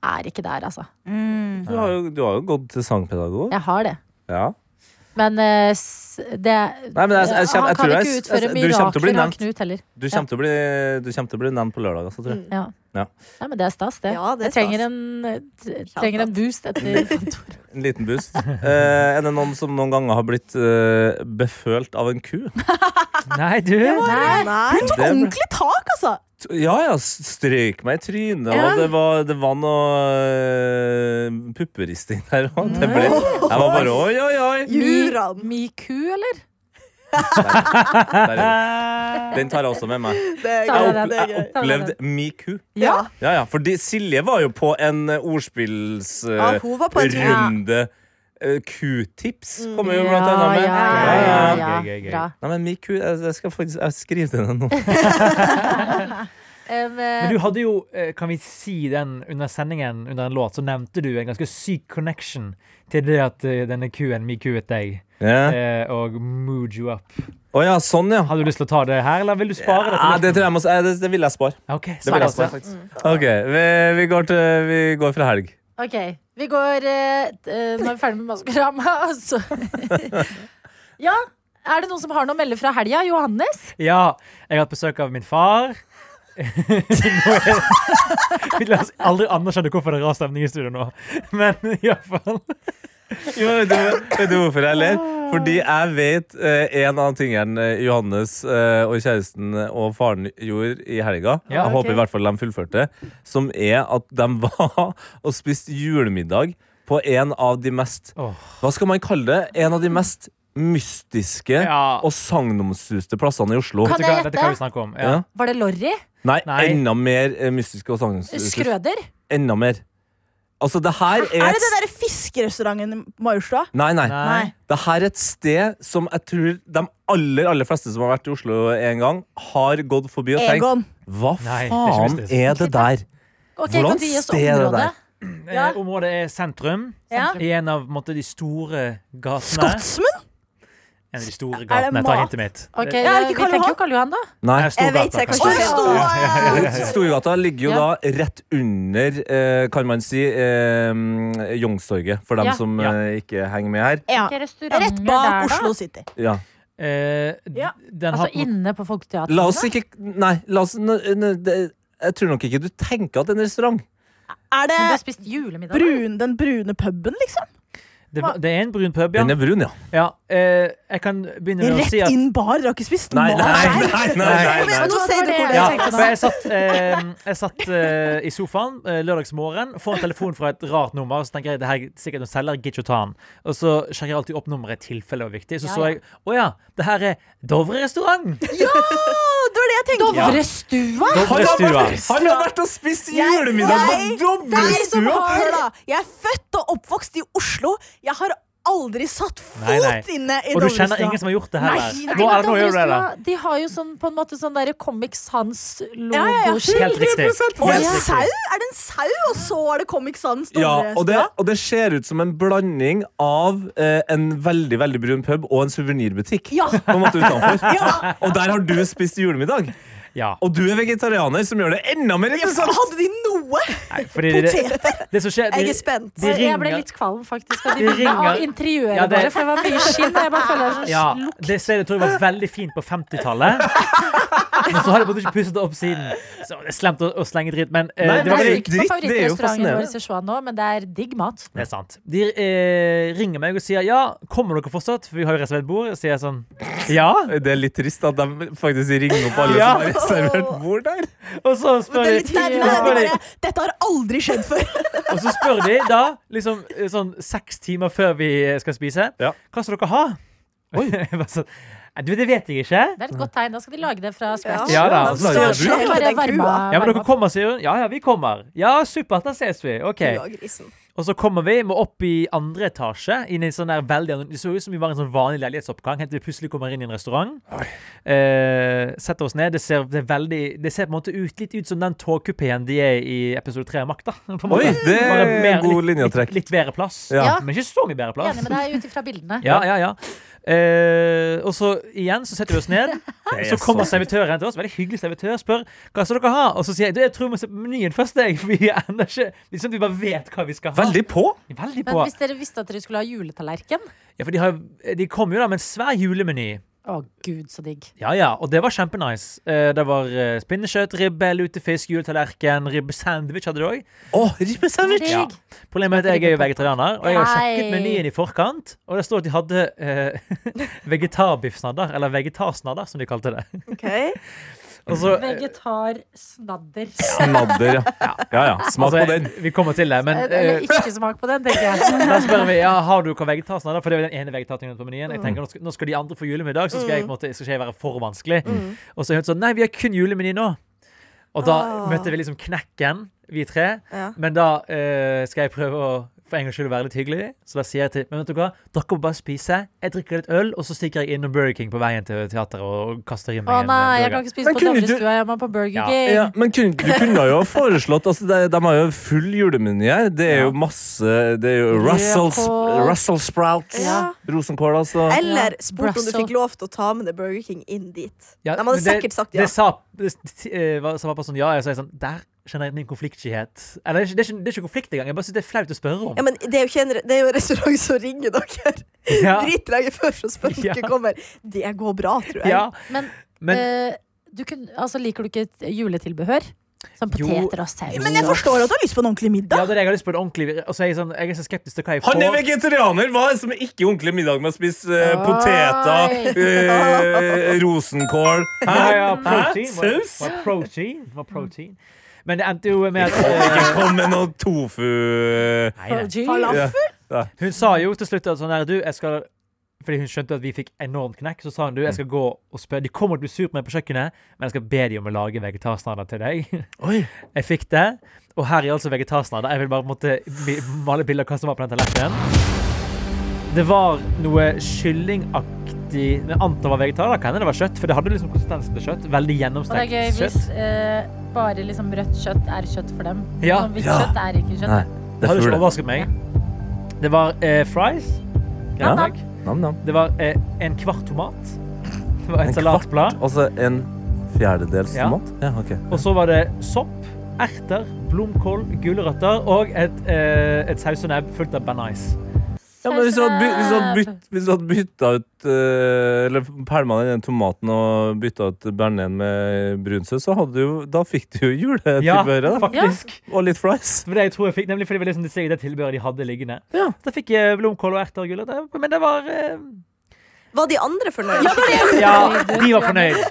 Speaker 2: er ikke der, altså.
Speaker 4: Mm.
Speaker 5: Du har, jo, du har jo gått til sangpedagog.
Speaker 2: Jeg har det.
Speaker 5: Ja.
Speaker 2: Men eh, s- det
Speaker 5: Nei, men jeg- jeg kjem- jeg
Speaker 2: Han kan
Speaker 5: tror jeg-
Speaker 2: ikke utføre
Speaker 5: jeg- du kommer til å bli
Speaker 2: mirakler av
Speaker 5: nevnt.
Speaker 2: Knut heller.
Speaker 5: Du kommer til å bli- du kommer til å bli nevnt på lørdag, altså, tror
Speaker 3: Mm.
Speaker 5: jeg.
Speaker 2: Ja.
Speaker 5: Ja.
Speaker 2: Nei, men det er stas, det.
Speaker 3: Ja, det
Speaker 2: jeg
Speaker 3: er
Speaker 2: trenger
Speaker 3: stas.
Speaker 2: en, eh, trenger en boost etter Fantorangen.
Speaker 3: Mm.
Speaker 5: En liten boost. Eh, er det noen som noen ganger har blitt eh, befølt av en ku?
Speaker 6: <laughs> Nei, du!
Speaker 2: Nei.
Speaker 3: Nei.
Speaker 5: Det er bra.
Speaker 4: Ordentlig tak, altså!
Speaker 5: Ja, ja, strøyk meg i trynet,
Speaker 4: Ja.
Speaker 5: og det var, det var noe eh, pupperisting der òg. Det ble
Speaker 3: Mm.
Speaker 5: Jeg var bare oi, oi, oi!
Speaker 3: Juran.
Speaker 2: Miku, eller?
Speaker 5: Der er den.
Speaker 6: Eh,
Speaker 5: Den tar jeg også med meg.
Speaker 3: Det er
Speaker 2: Ta
Speaker 5: Jeg,
Speaker 2: med den.
Speaker 3: gøy.
Speaker 5: opple
Speaker 3: Det er
Speaker 5: jeg
Speaker 3: gøy.
Speaker 5: opplevde miku.
Speaker 3: Ja.
Speaker 5: Ja, ja, fordi Silje var jo på en eh, ordspillsrunde.
Speaker 3: Ja, hun var på en tur.
Speaker 5: Eh, Q-tips kommer jo blant annet med.
Speaker 2: ja,
Speaker 5: Ja, ja.
Speaker 2: ja,
Speaker 6: Gøy, gøy,
Speaker 2: ja.
Speaker 6: gøy.
Speaker 2: Bra.
Speaker 5: Nei, men miku, jeg, jeg skal faktisk jeg skriver til henne nå.
Speaker 2: Em,
Speaker 6: Men du hadde jo, eh, kan vi si den under sendingen, under en låt, så nevnte du en ganske syk connection til det at eh, denne Q-en, me Q-et deg,
Speaker 5: Ja.
Speaker 6: eh, og mood you up.
Speaker 5: Å ja, sånn, ja.
Speaker 6: Hadde du lyst til å ta det her, eller vil du spare det?
Speaker 5: Ja, det tror jeg må, eh, det, det vil jeg spare.
Speaker 6: Ok,
Speaker 5: Det vil jeg
Speaker 6: spare
Speaker 5: spare, faktisk. OK, vi, vi, går til, vi går fra helg.
Speaker 2: ok, vi går eh, t- eh, Nå er vi ferdig med Maskorama. <laughs> Altså. ja, er det noen som har noe å melde fra helga? Johannes?
Speaker 6: Ja, jeg har hatt besøk av min far. <laughs> nå er Vi La oss aldri anerkjenne hvorfor det er rar stemning i studio nå, men iallfall
Speaker 5: Jo, vet, du, vet du hvorfor jeg ler? Fordi jeg vet eh, en av tingene eh, Johannes eh, og kjæresten og faren gjorde i helga.
Speaker 6: Ja,
Speaker 5: jeg
Speaker 6: ok.
Speaker 5: håper i hvert fall de fullførte. Som er at de <laughs> var og spiste julemiddag på en av de mest
Speaker 6: Åh.
Speaker 5: Hva skal man kalle det? En av de mest mystiske
Speaker 6: Ja.
Speaker 5: og sagnomsuste plassene i Oslo.
Speaker 2: Kan
Speaker 6: Vet du hva-
Speaker 2: jeg
Speaker 6: vet du hva
Speaker 2: gjette?
Speaker 6: vi snakker om? Ja.
Speaker 5: Ja.
Speaker 2: Var det Lorry?
Speaker 5: Nei,
Speaker 6: Nei.
Speaker 5: enda mer eh, mystiske og sagnomsuste.
Speaker 2: Skrøder?
Speaker 5: Enda mer. Altså, det her er,
Speaker 4: Er
Speaker 5: et
Speaker 4: det den
Speaker 5: s-
Speaker 4: der fiskerestauranten i Majorstua?
Speaker 5: Nei, nei.
Speaker 6: Nei.
Speaker 5: Det her er et sted som jeg tror de aller, aller fleste som har vært i Oslo en gang, har gått forbi og tenkt
Speaker 4: Egon.
Speaker 5: Hva
Speaker 6: Nei, det er ikke
Speaker 5: faen
Speaker 6: mystisk.
Speaker 5: er det der?
Speaker 2: Ok,
Speaker 5: Hvordan
Speaker 2: kan du gi oss
Speaker 5: sted er det
Speaker 2: området?
Speaker 5: der?
Speaker 2: Ja.
Speaker 6: Eh, Området er sentrum.
Speaker 2: Ja.
Speaker 6: I en av på en måte, de store gatene.
Speaker 4: Skotsmen?
Speaker 6: En av de
Speaker 4: Er
Speaker 6: store
Speaker 4: det
Speaker 6: gatene. Ta
Speaker 4: mat?
Speaker 6: hintet mitt.
Speaker 2: Ok, eh,
Speaker 6: Det-
Speaker 4: Ja, er det
Speaker 2: Vi
Speaker 4: ikke Karl
Speaker 2: tenker jo
Speaker 4: Johan?
Speaker 2: Karl Johan, da.
Speaker 5: Nei.
Speaker 6: Nei,
Speaker 3: Jeg vet
Speaker 6: Storgata,
Speaker 3: jeg hva
Speaker 6: kanskje.
Speaker 3: som skjer.
Speaker 5: Storgata ligger jo
Speaker 2: Ja.
Speaker 5: da rett under, eh, kan man si, eh, Youngstorget, for dem
Speaker 2: Ja.
Speaker 5: som
Speaker 6: Ja.
Speaker 5: eh, ikke henger med her.
Speaker 4: Ja.
Speaker 2: Hvilke restauranter
Speaker 4: Rett bak
Speaker 2: der, da?
Speaker 4: Oslo City.
Speaker 5: Ja.
Speaker 6: Eh, d-
Speaker 4: Ja.
Speaker 6: Den har
Speaker 2: Altså
Speaker 6: på-
Speaker 2: inne på Folketeatret?
Speaker 5: La oss ikke Nei, la oss n n det, Jeg tror nok ikke du tenker at det er en restaurant.
Speaker 4: Er det
Speaker 2: Men du har spist julemiddag? da?
Speaker 4: brun, den brune puben, liksom?
Speaker 6: det, var- det er en brun pub, ja.
Speaker 5: Den er brun, ja.
Speaker 6: ja eh, jeg kan begynne med å
Speaker 4: Rett
Speaker 6: si at
Speaker 4: inn bar? Dere har ikke spist
Speaker 5: Nei,
Speaker 4: mat?
Speaker 5: nei, nei. nei, nei, nei.
Speaker 3: Nå sier du hvor det
Speaker 6: Ja,
Speaker 3: er.
Speaker 6: for jeg satt, eh, jeg satt eh, i sofaen eh, lørdagsmorgen, får en telefon fra et rart nummer, så tenker jeg det her er sikkert noen selger, jeg gidder ikke å ta den. Og så sjekker jeg alltid opp nummeret i tilfelle det var viktig. Så
Speaker 2: Ja,
Speaker 6: så
Speaker 2: ja.
Speaker 6: jeg å ja, det her er Dovre restaurant!
Speaker 4: Det var det jeg tenkte.
Speaker 2: Dovrestua?
Speaker 5: Han har
Speaker 6: Dovrestua.
Speaker 5: vært, han har vært og spist julemiddag på
Speaker 4: Jeg- Deg som
Speaker 5: dobbeltstua!
Speaker 4: har- Hør da, Jeg er født og oppvokst i Oslo. Jeg har aldri satt fot
Speaker 6: Nei, nei.
Speaker 4: inne i
Speaker 6: Og du
Speaker 4: Dobbeltstua.
Speaker 6: kjenner ingen som har gjort det her?
Speaker 4: Nei,
Speaker 6: der.
Speaker 4: nei,
Speaker 6: nå, er det, nå gjør du det.
Speaker 2: Dovrestua, De har jo sånn på en måte sånn derre Comic
Speaker 4: Ja, ja, ja.
Speaker 2: Sans-logoskilt.
Speaker 6: da. Helt riktig.
Speaker 4: Og en
Speaker 6: Helt riktig.
Speaker 4: sau? Er det en sau, og så er det Comic Sans?
Speaker 5: Ja,
Speaker 4: store
Speaker 5: og det,
Speaker 4: stua?
Speaker 5: og det ser ut som en blanding av eh, en veldig veldig brun pub og en suvenirbutikk.
Speaker 4: Ja.
Speaker 5: På en måte utenfor. Og der har du spist julemiddag.
Speaker 6: Ja.
Speaker 5: Og du er vegetarianer, som gjør det enda mer interessant!
Speaker 4: Hadde de noe?
Speaker 6: Nei, fordi det, det, det som
Speaker 3: Jeg
Speaker 6: skjer de,
Speaker 3: er spent.
Speaker 6: de
Speaker 2: Jeg ble
Speaker 6: ringer-
Speaker 2: litt kvalm faktisk av, de
Speaker 6: De
Speaker 2: bildene av
Speaker 6: ringer-
Speaker 2: interiøret
Speaker 6: Ja, det-
Speaker 2: bare, for det var mye skinn. og Jeg bare føler det er sånn
Speaker 6: Ja, det stedet tror jeg var veldig fint på 50-tallet. Men så har de på en måte ikke pusset det opp siden. Så det er slemt å, å slenge dritt, men eh,
Speaker 5: Nei,
Speaker 6: det,
Speaker 2: Det
Speaker 6: var
Speaker 2: er
Speaker 5: veldig-
Speaker 6: veldig,
Speaker 2: ikke på
Speaker 5: dritt, det er jo
Speaker 2: favorittrestauranten
Speaker 5: fascinerende.
Speaker 2: vår i Sichuan nå, men det er digg mat.
Speaker 6: det er sant. De eh, ringer meg og sier ja, kommer dere fortsatt? For vi har jo reservert bord. Og sier jeg sånn ja.
Speaker 5: Det er litt trist at de faktisk ringer opp alle
Speaker 6: Ja.
Speaker 5: som har reservert bord der.
Speaker 6: Og så
Speaker 4: Det
Speaker 6: spør
Speaker 4: er
Speaker 6: de,
Speaker 4: litt deilig,
Speaker 6: og så
Speaker 4: det
Speaker 6: spør
Speaker 4: er
Speaker 6: de,
Speaker 4: bare, Dette har aldri skjedd før.
Speaker 6: og så spør de da, liksom eh, sånn seks timer før vi eh, skal spise,
Speaker 5: Ja.
Speaker 6: hva skal dere ha? <laughs> Jeg bare sånn, «Nei, du, det vet jeg ikke.
Speaker 2: Det er et godt tegn. Da skal de lage det fra scratch.
Speaker 6: Ja da.
Speaker 5: Så lager jeg
Speaker 3: Så
Speaker 2: Det
Speaker 5: brun.
Speaker 2: er
Speaker 3: slår
Speaker 2: bare
Speaker 3: den
Speaker 2: varma,
Speaker 3: kua.
Speaker 6: Ja, men dere
Speaker 2: varma.
Speaker 6: kommer, sier hun. Ja, ja, vi kommer. Ja, supert, da ses vi. OK.
Speaker 3: Kua og grisen.
Speaker 6: Og så kommer vi må opp i andre etasje. Inn i en sånn der veldig Det så ut som vi var i en sånn vanlig leilighetsoppgang. Helt til vi plutselig kommer inn i en restaurant. Eh, setter oss ned. Det ser, det, er veldig, det ser på en måte ut, litt ut som den togkupeen de er i episode tre av Makta. <laughs> på en måte.
Speaker 5: Oi, det er
Speaker 6: Bare mer-
Speaker 5: god
Speaker 6: litt-
Speaker 5: linjetrekk.
Speaker 6: Litt, litt bedre plass.
Speaker 5: Ja.
Speaker 2: Ja.
Speaker 6: Men ikke så mye bedre plass.
Speaker 2: Enig med deg ut ifra bildene.
Speaker 6: altså. Ja, ja, ja. Eh, og så igjen så setter vi oss
Speaker 2: <laughs>
Speaker 6: ned. Så kommer servitøren til oss, veldig hyggelig servitør, spør hva skal dere ha. Og så sier jeg du, jeg tror vi må se på menyen først, jeg. <laughs> For vi er ennå ikke liksom, Vi bare vet hva vi skal ha.
Speaker 5: Veldig på.
Speaker 6: Veldig
Speaker 2: Men
Speaker 6: på.
Speaker 2: hvis dere visste at dere skulle ha juletallerken
Speaker 6: Ja, for de, har, de kom jo da med en svær julemeny.
Speaker 2: Å gud, så digg.
Speaker 6: Ja, ja, og det var kjempenice. Eh, det var eh, pinnekjøtt, ribbe, lutefisk, juletallerken, ribbesandwich hadde de òg.
Speaker 5: Å, ribbesandwich!
Speaker 6: Ja.
Speaker 2: Digg.
Speaker 6: Problemet er at jeg er jo vegetarianer, og jeg har sjekket
Speaker 2: Nei.
Speaker 6: menyen i forkant. Og det står at de hadde eh, <laughs> vegetarbiffsnadder, eller vegetarsnadder, som de kalte det.
Speaker 3: Ok.
Speaker 6: Og så, eh,
Speaker 2: Vegetarsnadder.
Speaker 5: Snadder, ja. ja. ja. Smak
Speaker 6: altså,
Speaker 5: på den.
Speaker 6: Vi kommer til det, men
Speaker 2: Eller
Speaker 6: eh,
Speaker 2: ikke smak på den, tenker jeg.
Speaker 6: <laughs> Da spør vi ja, har du hva vegetarsnadder, for det er jo den ene vegetartingen på menyen. Jeg
Speaker 2: Mm.
Speaker 6: tenker, nå skal, nå skal de andre få julemiddag, så skal jeg, på en måte, skal ikke jeg være for vanskelig.
Speaker 3: Mm.
Speaker 6: Og så er hun sånn Nei, vi har kun julemeny nå. Og da
Speaker 3: Ah.
Speaker 6: møtte vi liksom knekken, vi tre.
Speaker 3: Ja.
Speaker 6: Men da eh, skal jeg prøve å for en gangs skyld være litt hyggelig. Så da sier jeg til Men vet du hva, dere må bare spise. Jeg drikker litt øl, og så stikker jeg innom Burger King på veien til teateret og kaster i meg
Speaker 2: Å
Speaker 6: en, eh,
Speaker 2: nei, jeg
Speaker 6: burger.
Speaker 2: kan ikke spise
Speaker 5: Men
Speaker 2: på
Speaker 5: kunne du-
Speaker 2: Dovrestua, jeg må på Burger
Speaker 6: Ja.
Speaker 2: King.
Speaker 5: Ja, men kunne, du kunne jo ha foreslått altså de, de har jo full julemeny her. Det er jo masse Det er jo Russell,
Speaker 2: Rødkål.
Speaker 5: Russell Sprouts.
Speaker 2: Ja.
Speaker 5: Rosenkål, altså.
Speaker 3: Eller
Speaker 2: Ja.
Speaker 3: spurt om du
Speaker 2: Brussel.
Speaker 3: fikk lov til å ta med deg Burger King inn dit.
Speaker 6: Ja,
Speaker 3: De
Speaker 6: men
Speaker 3: hadde
Speaker 6: det-
Speaker 3: sikkert sagt ja.
Speaker 6: Det sa, det, eh, var- sa pappa sånn ja, og så er jeg sånn Der kjenner jeg min konfliktskyhet. Eller det er, ikke, det er ikke- det er ikke konflikt engang. Jeg bare synes det er flaut å spørre om.
Speaker 3: Ja, men det er jo ikke en, det er jo en restaurant som ringer dere
Speaker 6: Ja.
Speaker 3: dritlenge før for å spørre om
Speaker 6: Ja.
Speaker 3: dere kommer. Det går bra, tror jeg.
Speaker 6: Ja,
Speaker 2: Men,
Speaker 6: men
Speaker 2: eh, du kunne, altså, liker du ikke et juletilbehør? Som
Speaker 6: Jo.
Speaker 2: poteter og saus.
Speaker 4: Men jeg
Speaker 2: og-
Speaker 4: forstår at du har lyst på en ordentlig
Speaker 6: ja,
Speaker 4: middag.
Speaker 6: det er det jeg har lyst på det ordentlig. Og så er jeg, sånn, jeg er så skeptisk til hva jeg får.
Speaker 5: Han er vegetarianer! Hva er det som er ikke ordentlig middag med å spise eh,
Speaker 2: Oi.
Speaker 5: poteter, <laughs> eh, rosenkål Hæ?
Speaker 6: Ja, ja, protein.
Speaker 5: Hæ?
Speaker 6: Var,
Speaker 5: Saus?
Speaker 6: var protein. Var protein. Men det endte jo med at
Speaker 5: Ikke
Speaker 6: eh,
Speaker 5: kom med noe tofu
Speaker 6: nei, nei.
Speaker 2: Falafel.
Speaker 6: Hun sa jo til slutt at sånn her, du, jeg skal fordi hun skjønte at vi fikk enormt knekk, så sa hun du,
Speaker 5: Mm.
Speaker 6: jeg skal gå og spørre. De kommer til å bli sur på meg på kjøkkenet, men jeg skal be de om å lage vegetarsnadder til deg.
Speaker 5: Oi.
Speaker 6: <laughs> Jeg fikk det. Og her er altså vegetarsnadder. Jeg vil bare måtte bi- male bilder av hva som var på den tallerkenen. Det var noe kyllingaktig Men jeg antar det var vegetar. Da kan hende det var kjøtt, for det hadde liksom konsistensen til kjøtt. Veldig
Speaker 2: Og det er
Speaker 6: gjennomstengt
Speaker 2: gøy hvis
Speaker 6: kjøtt.
Speaker 2: eh, bare liksom rødt kjøtt er kjøtt for dem.
Speaker 6: Ja.
Speaker 2: Og Hvitt
Speaker 5: Ja.
Speaker 2: kjøtt er ikke kjøtt.
Speaker 5: Nei, det
Speaker 6: Hadde
Speaker 5: er
Speaker 6: ikke
Speaker 5: fugl.
Speaker 6: overrasket meg. Det var eh, fries.
Speaker 5: Ja.
Speaker 6: Greit nok.
Speaker 5: Nam, nam.
Speaker 6: Det var eh, en kvart tomat. Det var
Speaker 5: En kvart?
Speaker 6: et salatblad.
Speaker 5: Altså en fjerdedels
Speaker 6: Ja.
Speaker 5: mat? Ja, ok.
Speaker 6: Og så var det sopp, erter, blomkål, gulrøtter og et, eh, et saus og nebb fullt av banais.
Speaker 5: Ja, men hvis du hadde, by- hvis du hadde, bytt, hvis du hadde bytta ut eh, Eller pælma ned den tomaten og bytta ut bearnés med brunsaus, så hadde du jo Da fikk du jo
Speaker 6: Ja,
Speaker 5: juletilbehøret. da.
Speaker 6: faktisk.
Speaker 5: og litt fries.
Speaker 6: For det jeg tror jeg fikk, nemlig fordi det var liksom det, det tilbehøret de hadde liggende.
Speaker 5: Ja.
Speaker 6: Da fikk jeg blomkål og erter og gulrøtter. Men det var eh,
Speaker 3: Var de andre fornøyd? Ja,
Speaker 6: Ja, de var fornøyd.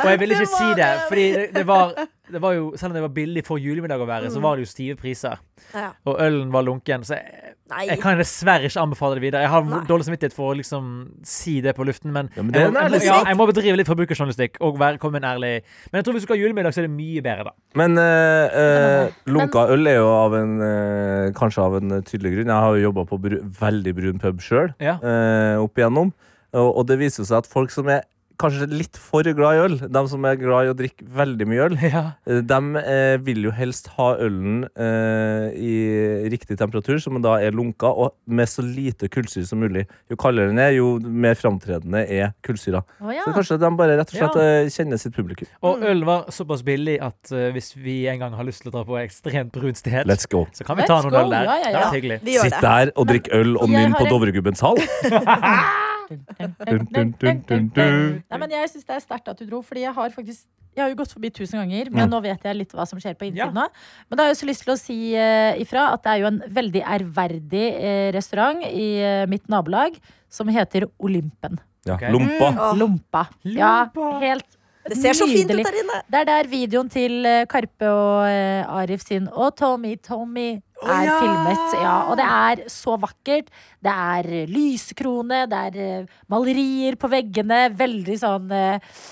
Speaker 6: Og jeg ville ikke si det, fordi det, det var det var jo, Selv om det var billig for julemiddag å være, så var det jo stive priser.
Speaker 3: Ja.
Speaker 6: Og ølen var lunken, så jeg,
Speaker 3: Nei.
Speaker 6: jeg kan dessverre ikke anbefale det videre. Jeg har
Speaker 3: Nei.
Speaker 6: dårlig samvittighet for å liksom si det på luften, men,
Speaker 5: Ja, men det er
Speaker 6: jeg,
Speaker 5: en
Speaker 6: må, jeg,
Speaker 5: ærlig
Speaker 6: må, ja, jeg må bedrive litt forbrukerjournalistikk og være, komme med en ærlig Men jeg tror hvis du skal ha julemiddag, så er det mye bedre, da.
Speaker 5: Men eh, eh, lunka øl er jo av en, eh, kanskje av en tydelig grunn. Jeg har jo jobba på bru, veldig brun pub sjøl
Speaker 6: Ja.
Speaker 5: eh, opp igjennom. Og, og det viser seg at folk som er kanskje litt for glad i øl, de som er glad i å drikke veldig mye øl,
Speaker 6: <laughs> Ja.
Speaker 5: eh, de eh, vil jo helst ha ølen eh, i riktig temperatur, som da er lunka, og med så lite kullsyre som mulig. Jo kaldere den er, jo mer framtredende er kullsyra.
Speaker 2: Å, ja.
Speaker 5: Så kanskje de bare rett og slett
Speaker 6: Ja.
Speaker 5: eh, kjenner sitt publikum.
Speaker 2: Mm.
Speaker 6: Og øl var såpass billig at eh, hvis vi en gang har lyst til å dra på et ekstremt brunt sted,
Speaker 5: Let's go.
Speaker 6: så kan vi
Speaker 2: Let's
Speaker 6: ta noen
Speaker 2: go,
Speaker 6: øl der.
Speaker 2: ja, ja,
Speaker 6: Det
Speaker 2: ja.
Speaker 6: er hyggelig.
Speaker 3: Vi gjør
Speaker 5: Sitt
Speaker 3: det.
Speaker 5: der og drikk øl og
Speaker 2: jeg
Speaker 5: nyn på
Speaker 2: har en-
Speaker 5: Dovregubbens hall. Dun, dun, dun, dun, dun.
Speaker 2: Nei, men jeg syns det er sterkt at du dro, fordi jeg har faktisk jeg har jo gått forbi tusen ganger, men nå vet jeg litt hva som skjer på innsiden.
Speaker 6: Ja.
Speaker 2: nå. Men da har jeg også lyst til å si eh, ifra at det er jo en veldig ærverdig eh, restaurant i eh, mitt nabolag som heter Olympen.
Speaker 5: Ja,
Speaker 6: Ok.
Speaker 5: Lompa.
Speaker 3: Åh,
Speaker 2: Lompa. Ja,
Speaker 6: Lompa.
Speaker 2: helt
Speaker 3: det ser så fint ut
Speaker 2: nydelig.
Speaker 3: der inne.
Speaker 2: Det er der videoen til eh, Karpe og eh, Arif sin Og Tommy, Tommy er
Speaker 4: ja!
Speaker 2: filmet. Ja, og det er så vakkert. Det er eh, lyskrone, det er eh, malerier på veggene. Veldig sånn eh,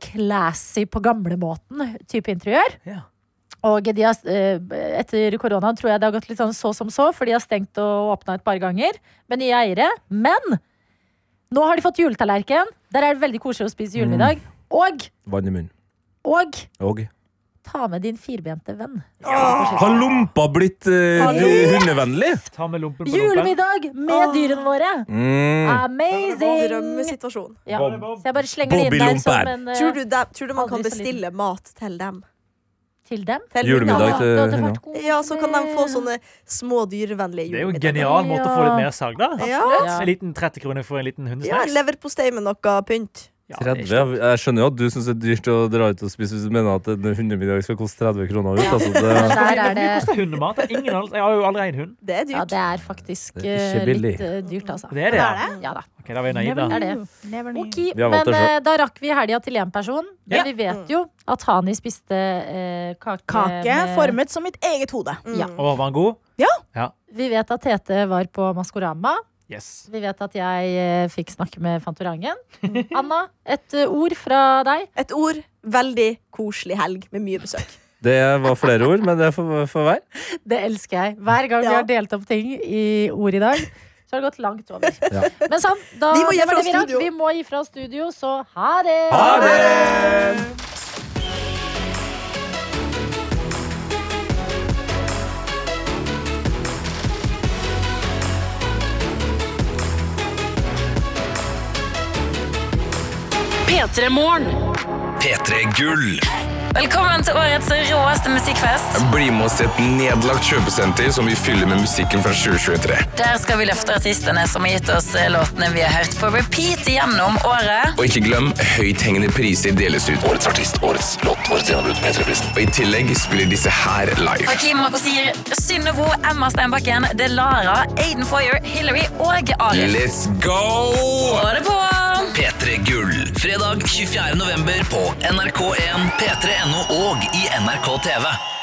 Speaker 2: classy på gamlemåten type interiør.
Speaker 6: Ja.
Speaker 2: Og de har, eh, etter korona tror jeg det har gått litt sånn så som så, for de har stengt og åpna et par ganger med nye eiere. Men nå har de fått juletallerken. Der er det veldig koselig å spise julemiddag. Og,
Speaker 5: Vann i munnen.
Speaker 2: og
Speaker 5: Og
Speaker 2: Ta med din firbente venn.
Speaker 5: Har lompa blitt eh,
Speaker 2: Har
Speaker 5: hu- hundevennlig?
Speaker 6: Ta med lompen på Ah. lompen.
Speaker 2: Julemiddag med dyrene våre!
Speaker 5: Mm.
Speaker 2: Amazing!
Speaker 3: Drømmesituasjon.
Speaker 2: Ah, Ja.
Speaker 6: Bob- Bob.
Speaker 2: Så jeg bare slenger det inn der som
Speaker 5: Bobby-lompen.
Speaker 2: en eh,
Speaker 3: Tror du, de, tror du man kan
Speaker 2: Aldri så liten.
Speaker 3: bestille mat til dem?
Speaker 2: til dem.
Speaker 3: Til
Speaker 5: Julemiddag
Speaker 3: middag?
Speaker 5: til-
Speaker 2: det hadde
Speaker 5: hundene.
Speaker 2: vært god
Speaker 3: Ja, så kan de få
Speaker 2: idé.
Speaker 3: sånne små dyrevennlige
Speaker 6: Det er jo en
Speaker 3: julemiddager.
Speaker 6: genial måte å få litt mer salg, da.
Speaker 3: Ja.
Speaker 2: Ja.
Speaker 6: En liten 30 kroner for en liten
Speaker 3: ja,
Speaker 6: hundesnacks.
Speaker 3: leverpostei med noe pynt.
Speaker 6: Ja, det er
Speaker 5: 30.
Speaker 6: ikke-
Speaker 5: ja. Jeg skjønner jo at du syns det er dyrt å dra ut og spise hvis du mener at en hundemiddag skal koste 30 kroner ut. Altså, det,
Speaker 2: Der er
Speaker 6: Hvor mye
Speaker 2: det
Speaker 6: koster hundemat? Det er ingen andre- Jeg har jo aldri en hund.
Speaker 3: Det er
Speaker 2: Ja,
Speaker 3: dyrt.
Speaker 2: det er faktisk
Speaker 5: Det er ikke
Speaker 2: eh,
Speaker 5: billig.
Speaker 2: litt eh, dyrt, altså.
Speaker 6: Det er det, ja.
Speaker 2: Ja da.
Speaker 6: Ok, da var jeg naiv, da.
Speaker 2: Det er det.
Speaker 4: Never knew.
Speaker 2: Ok,
Speaker 5: har valgt
Speaker 2: men
Speaker 5: det selv.
Speaker 2: eh, da rakk vi helga til én person. Men
Speaker 6: Ja.
Speaker 2: vi vet jo at Hani spiste eh, kake,
Speaker 4: Kake
Speaker 2: med- Mm.
Speaker 4: formet som mitt eget hode.
Speaker 2: Ja.
Speaker 6: Og var han god?
Speaker 2: Vi vet at Tete var på Maskorama.
Speaker 6: Yes.
Speaker 2: Vi vet at jeg eh, fikk snakke med Fantorangen. Anna, et eh, ord fra deg.
Speaker 3: Et ord. Veldig koselig helg med mye besøk.
Speaker 5: Det var flere ord, men det er for, for hver.
Speaker 2: Det elsker jeg. Hver gang vi
Speaker 3: Ja.
Speaker 2: har delt opp ting i ord i dag, så har det gått langt over.
Speaker 5: Ja.
Speaker 2: Men sånn, da
Speaker 3: Vi må gi
Speaker 2: det var
Speaker 3: fra
Speaker 2: det vi rakk.
Speaker 3: studio.
Speaker 2: Vi må gi fra studio, så ha det!
Speaker 5: Ha det!
Speaker 8: P3 Morgen.
Speaker 1: P3 Gull.
Speaker 8: Velkommen til årets råeste musikkfest.
Speaker 9: Bli med oss til et nedlagt kjøpesenter som vi fyller med musikken fra 2023.
Speaker 8: Der skal vi løfte artistene som har gitt oss eh, låtene vi har hørt på repeat gjennom året.
Speaker 9: Og ikke glem, høythengende priser deles ut. Årets artist, årets låt, årets gjennombrudd, P3-prisen. Og i tillegg spiller disse her live.
Speaker 8: Hakim Makosir, Synnevo, Emma Steinbakken, Delara, Aiden Foyer, Hillary og Arif.
Speaker 9: Let's go!
Speaker 8: Ha det på!
Speaker 1: P3 Gull. Fredag 24. november på NRK1, P3.no og i NRK TV.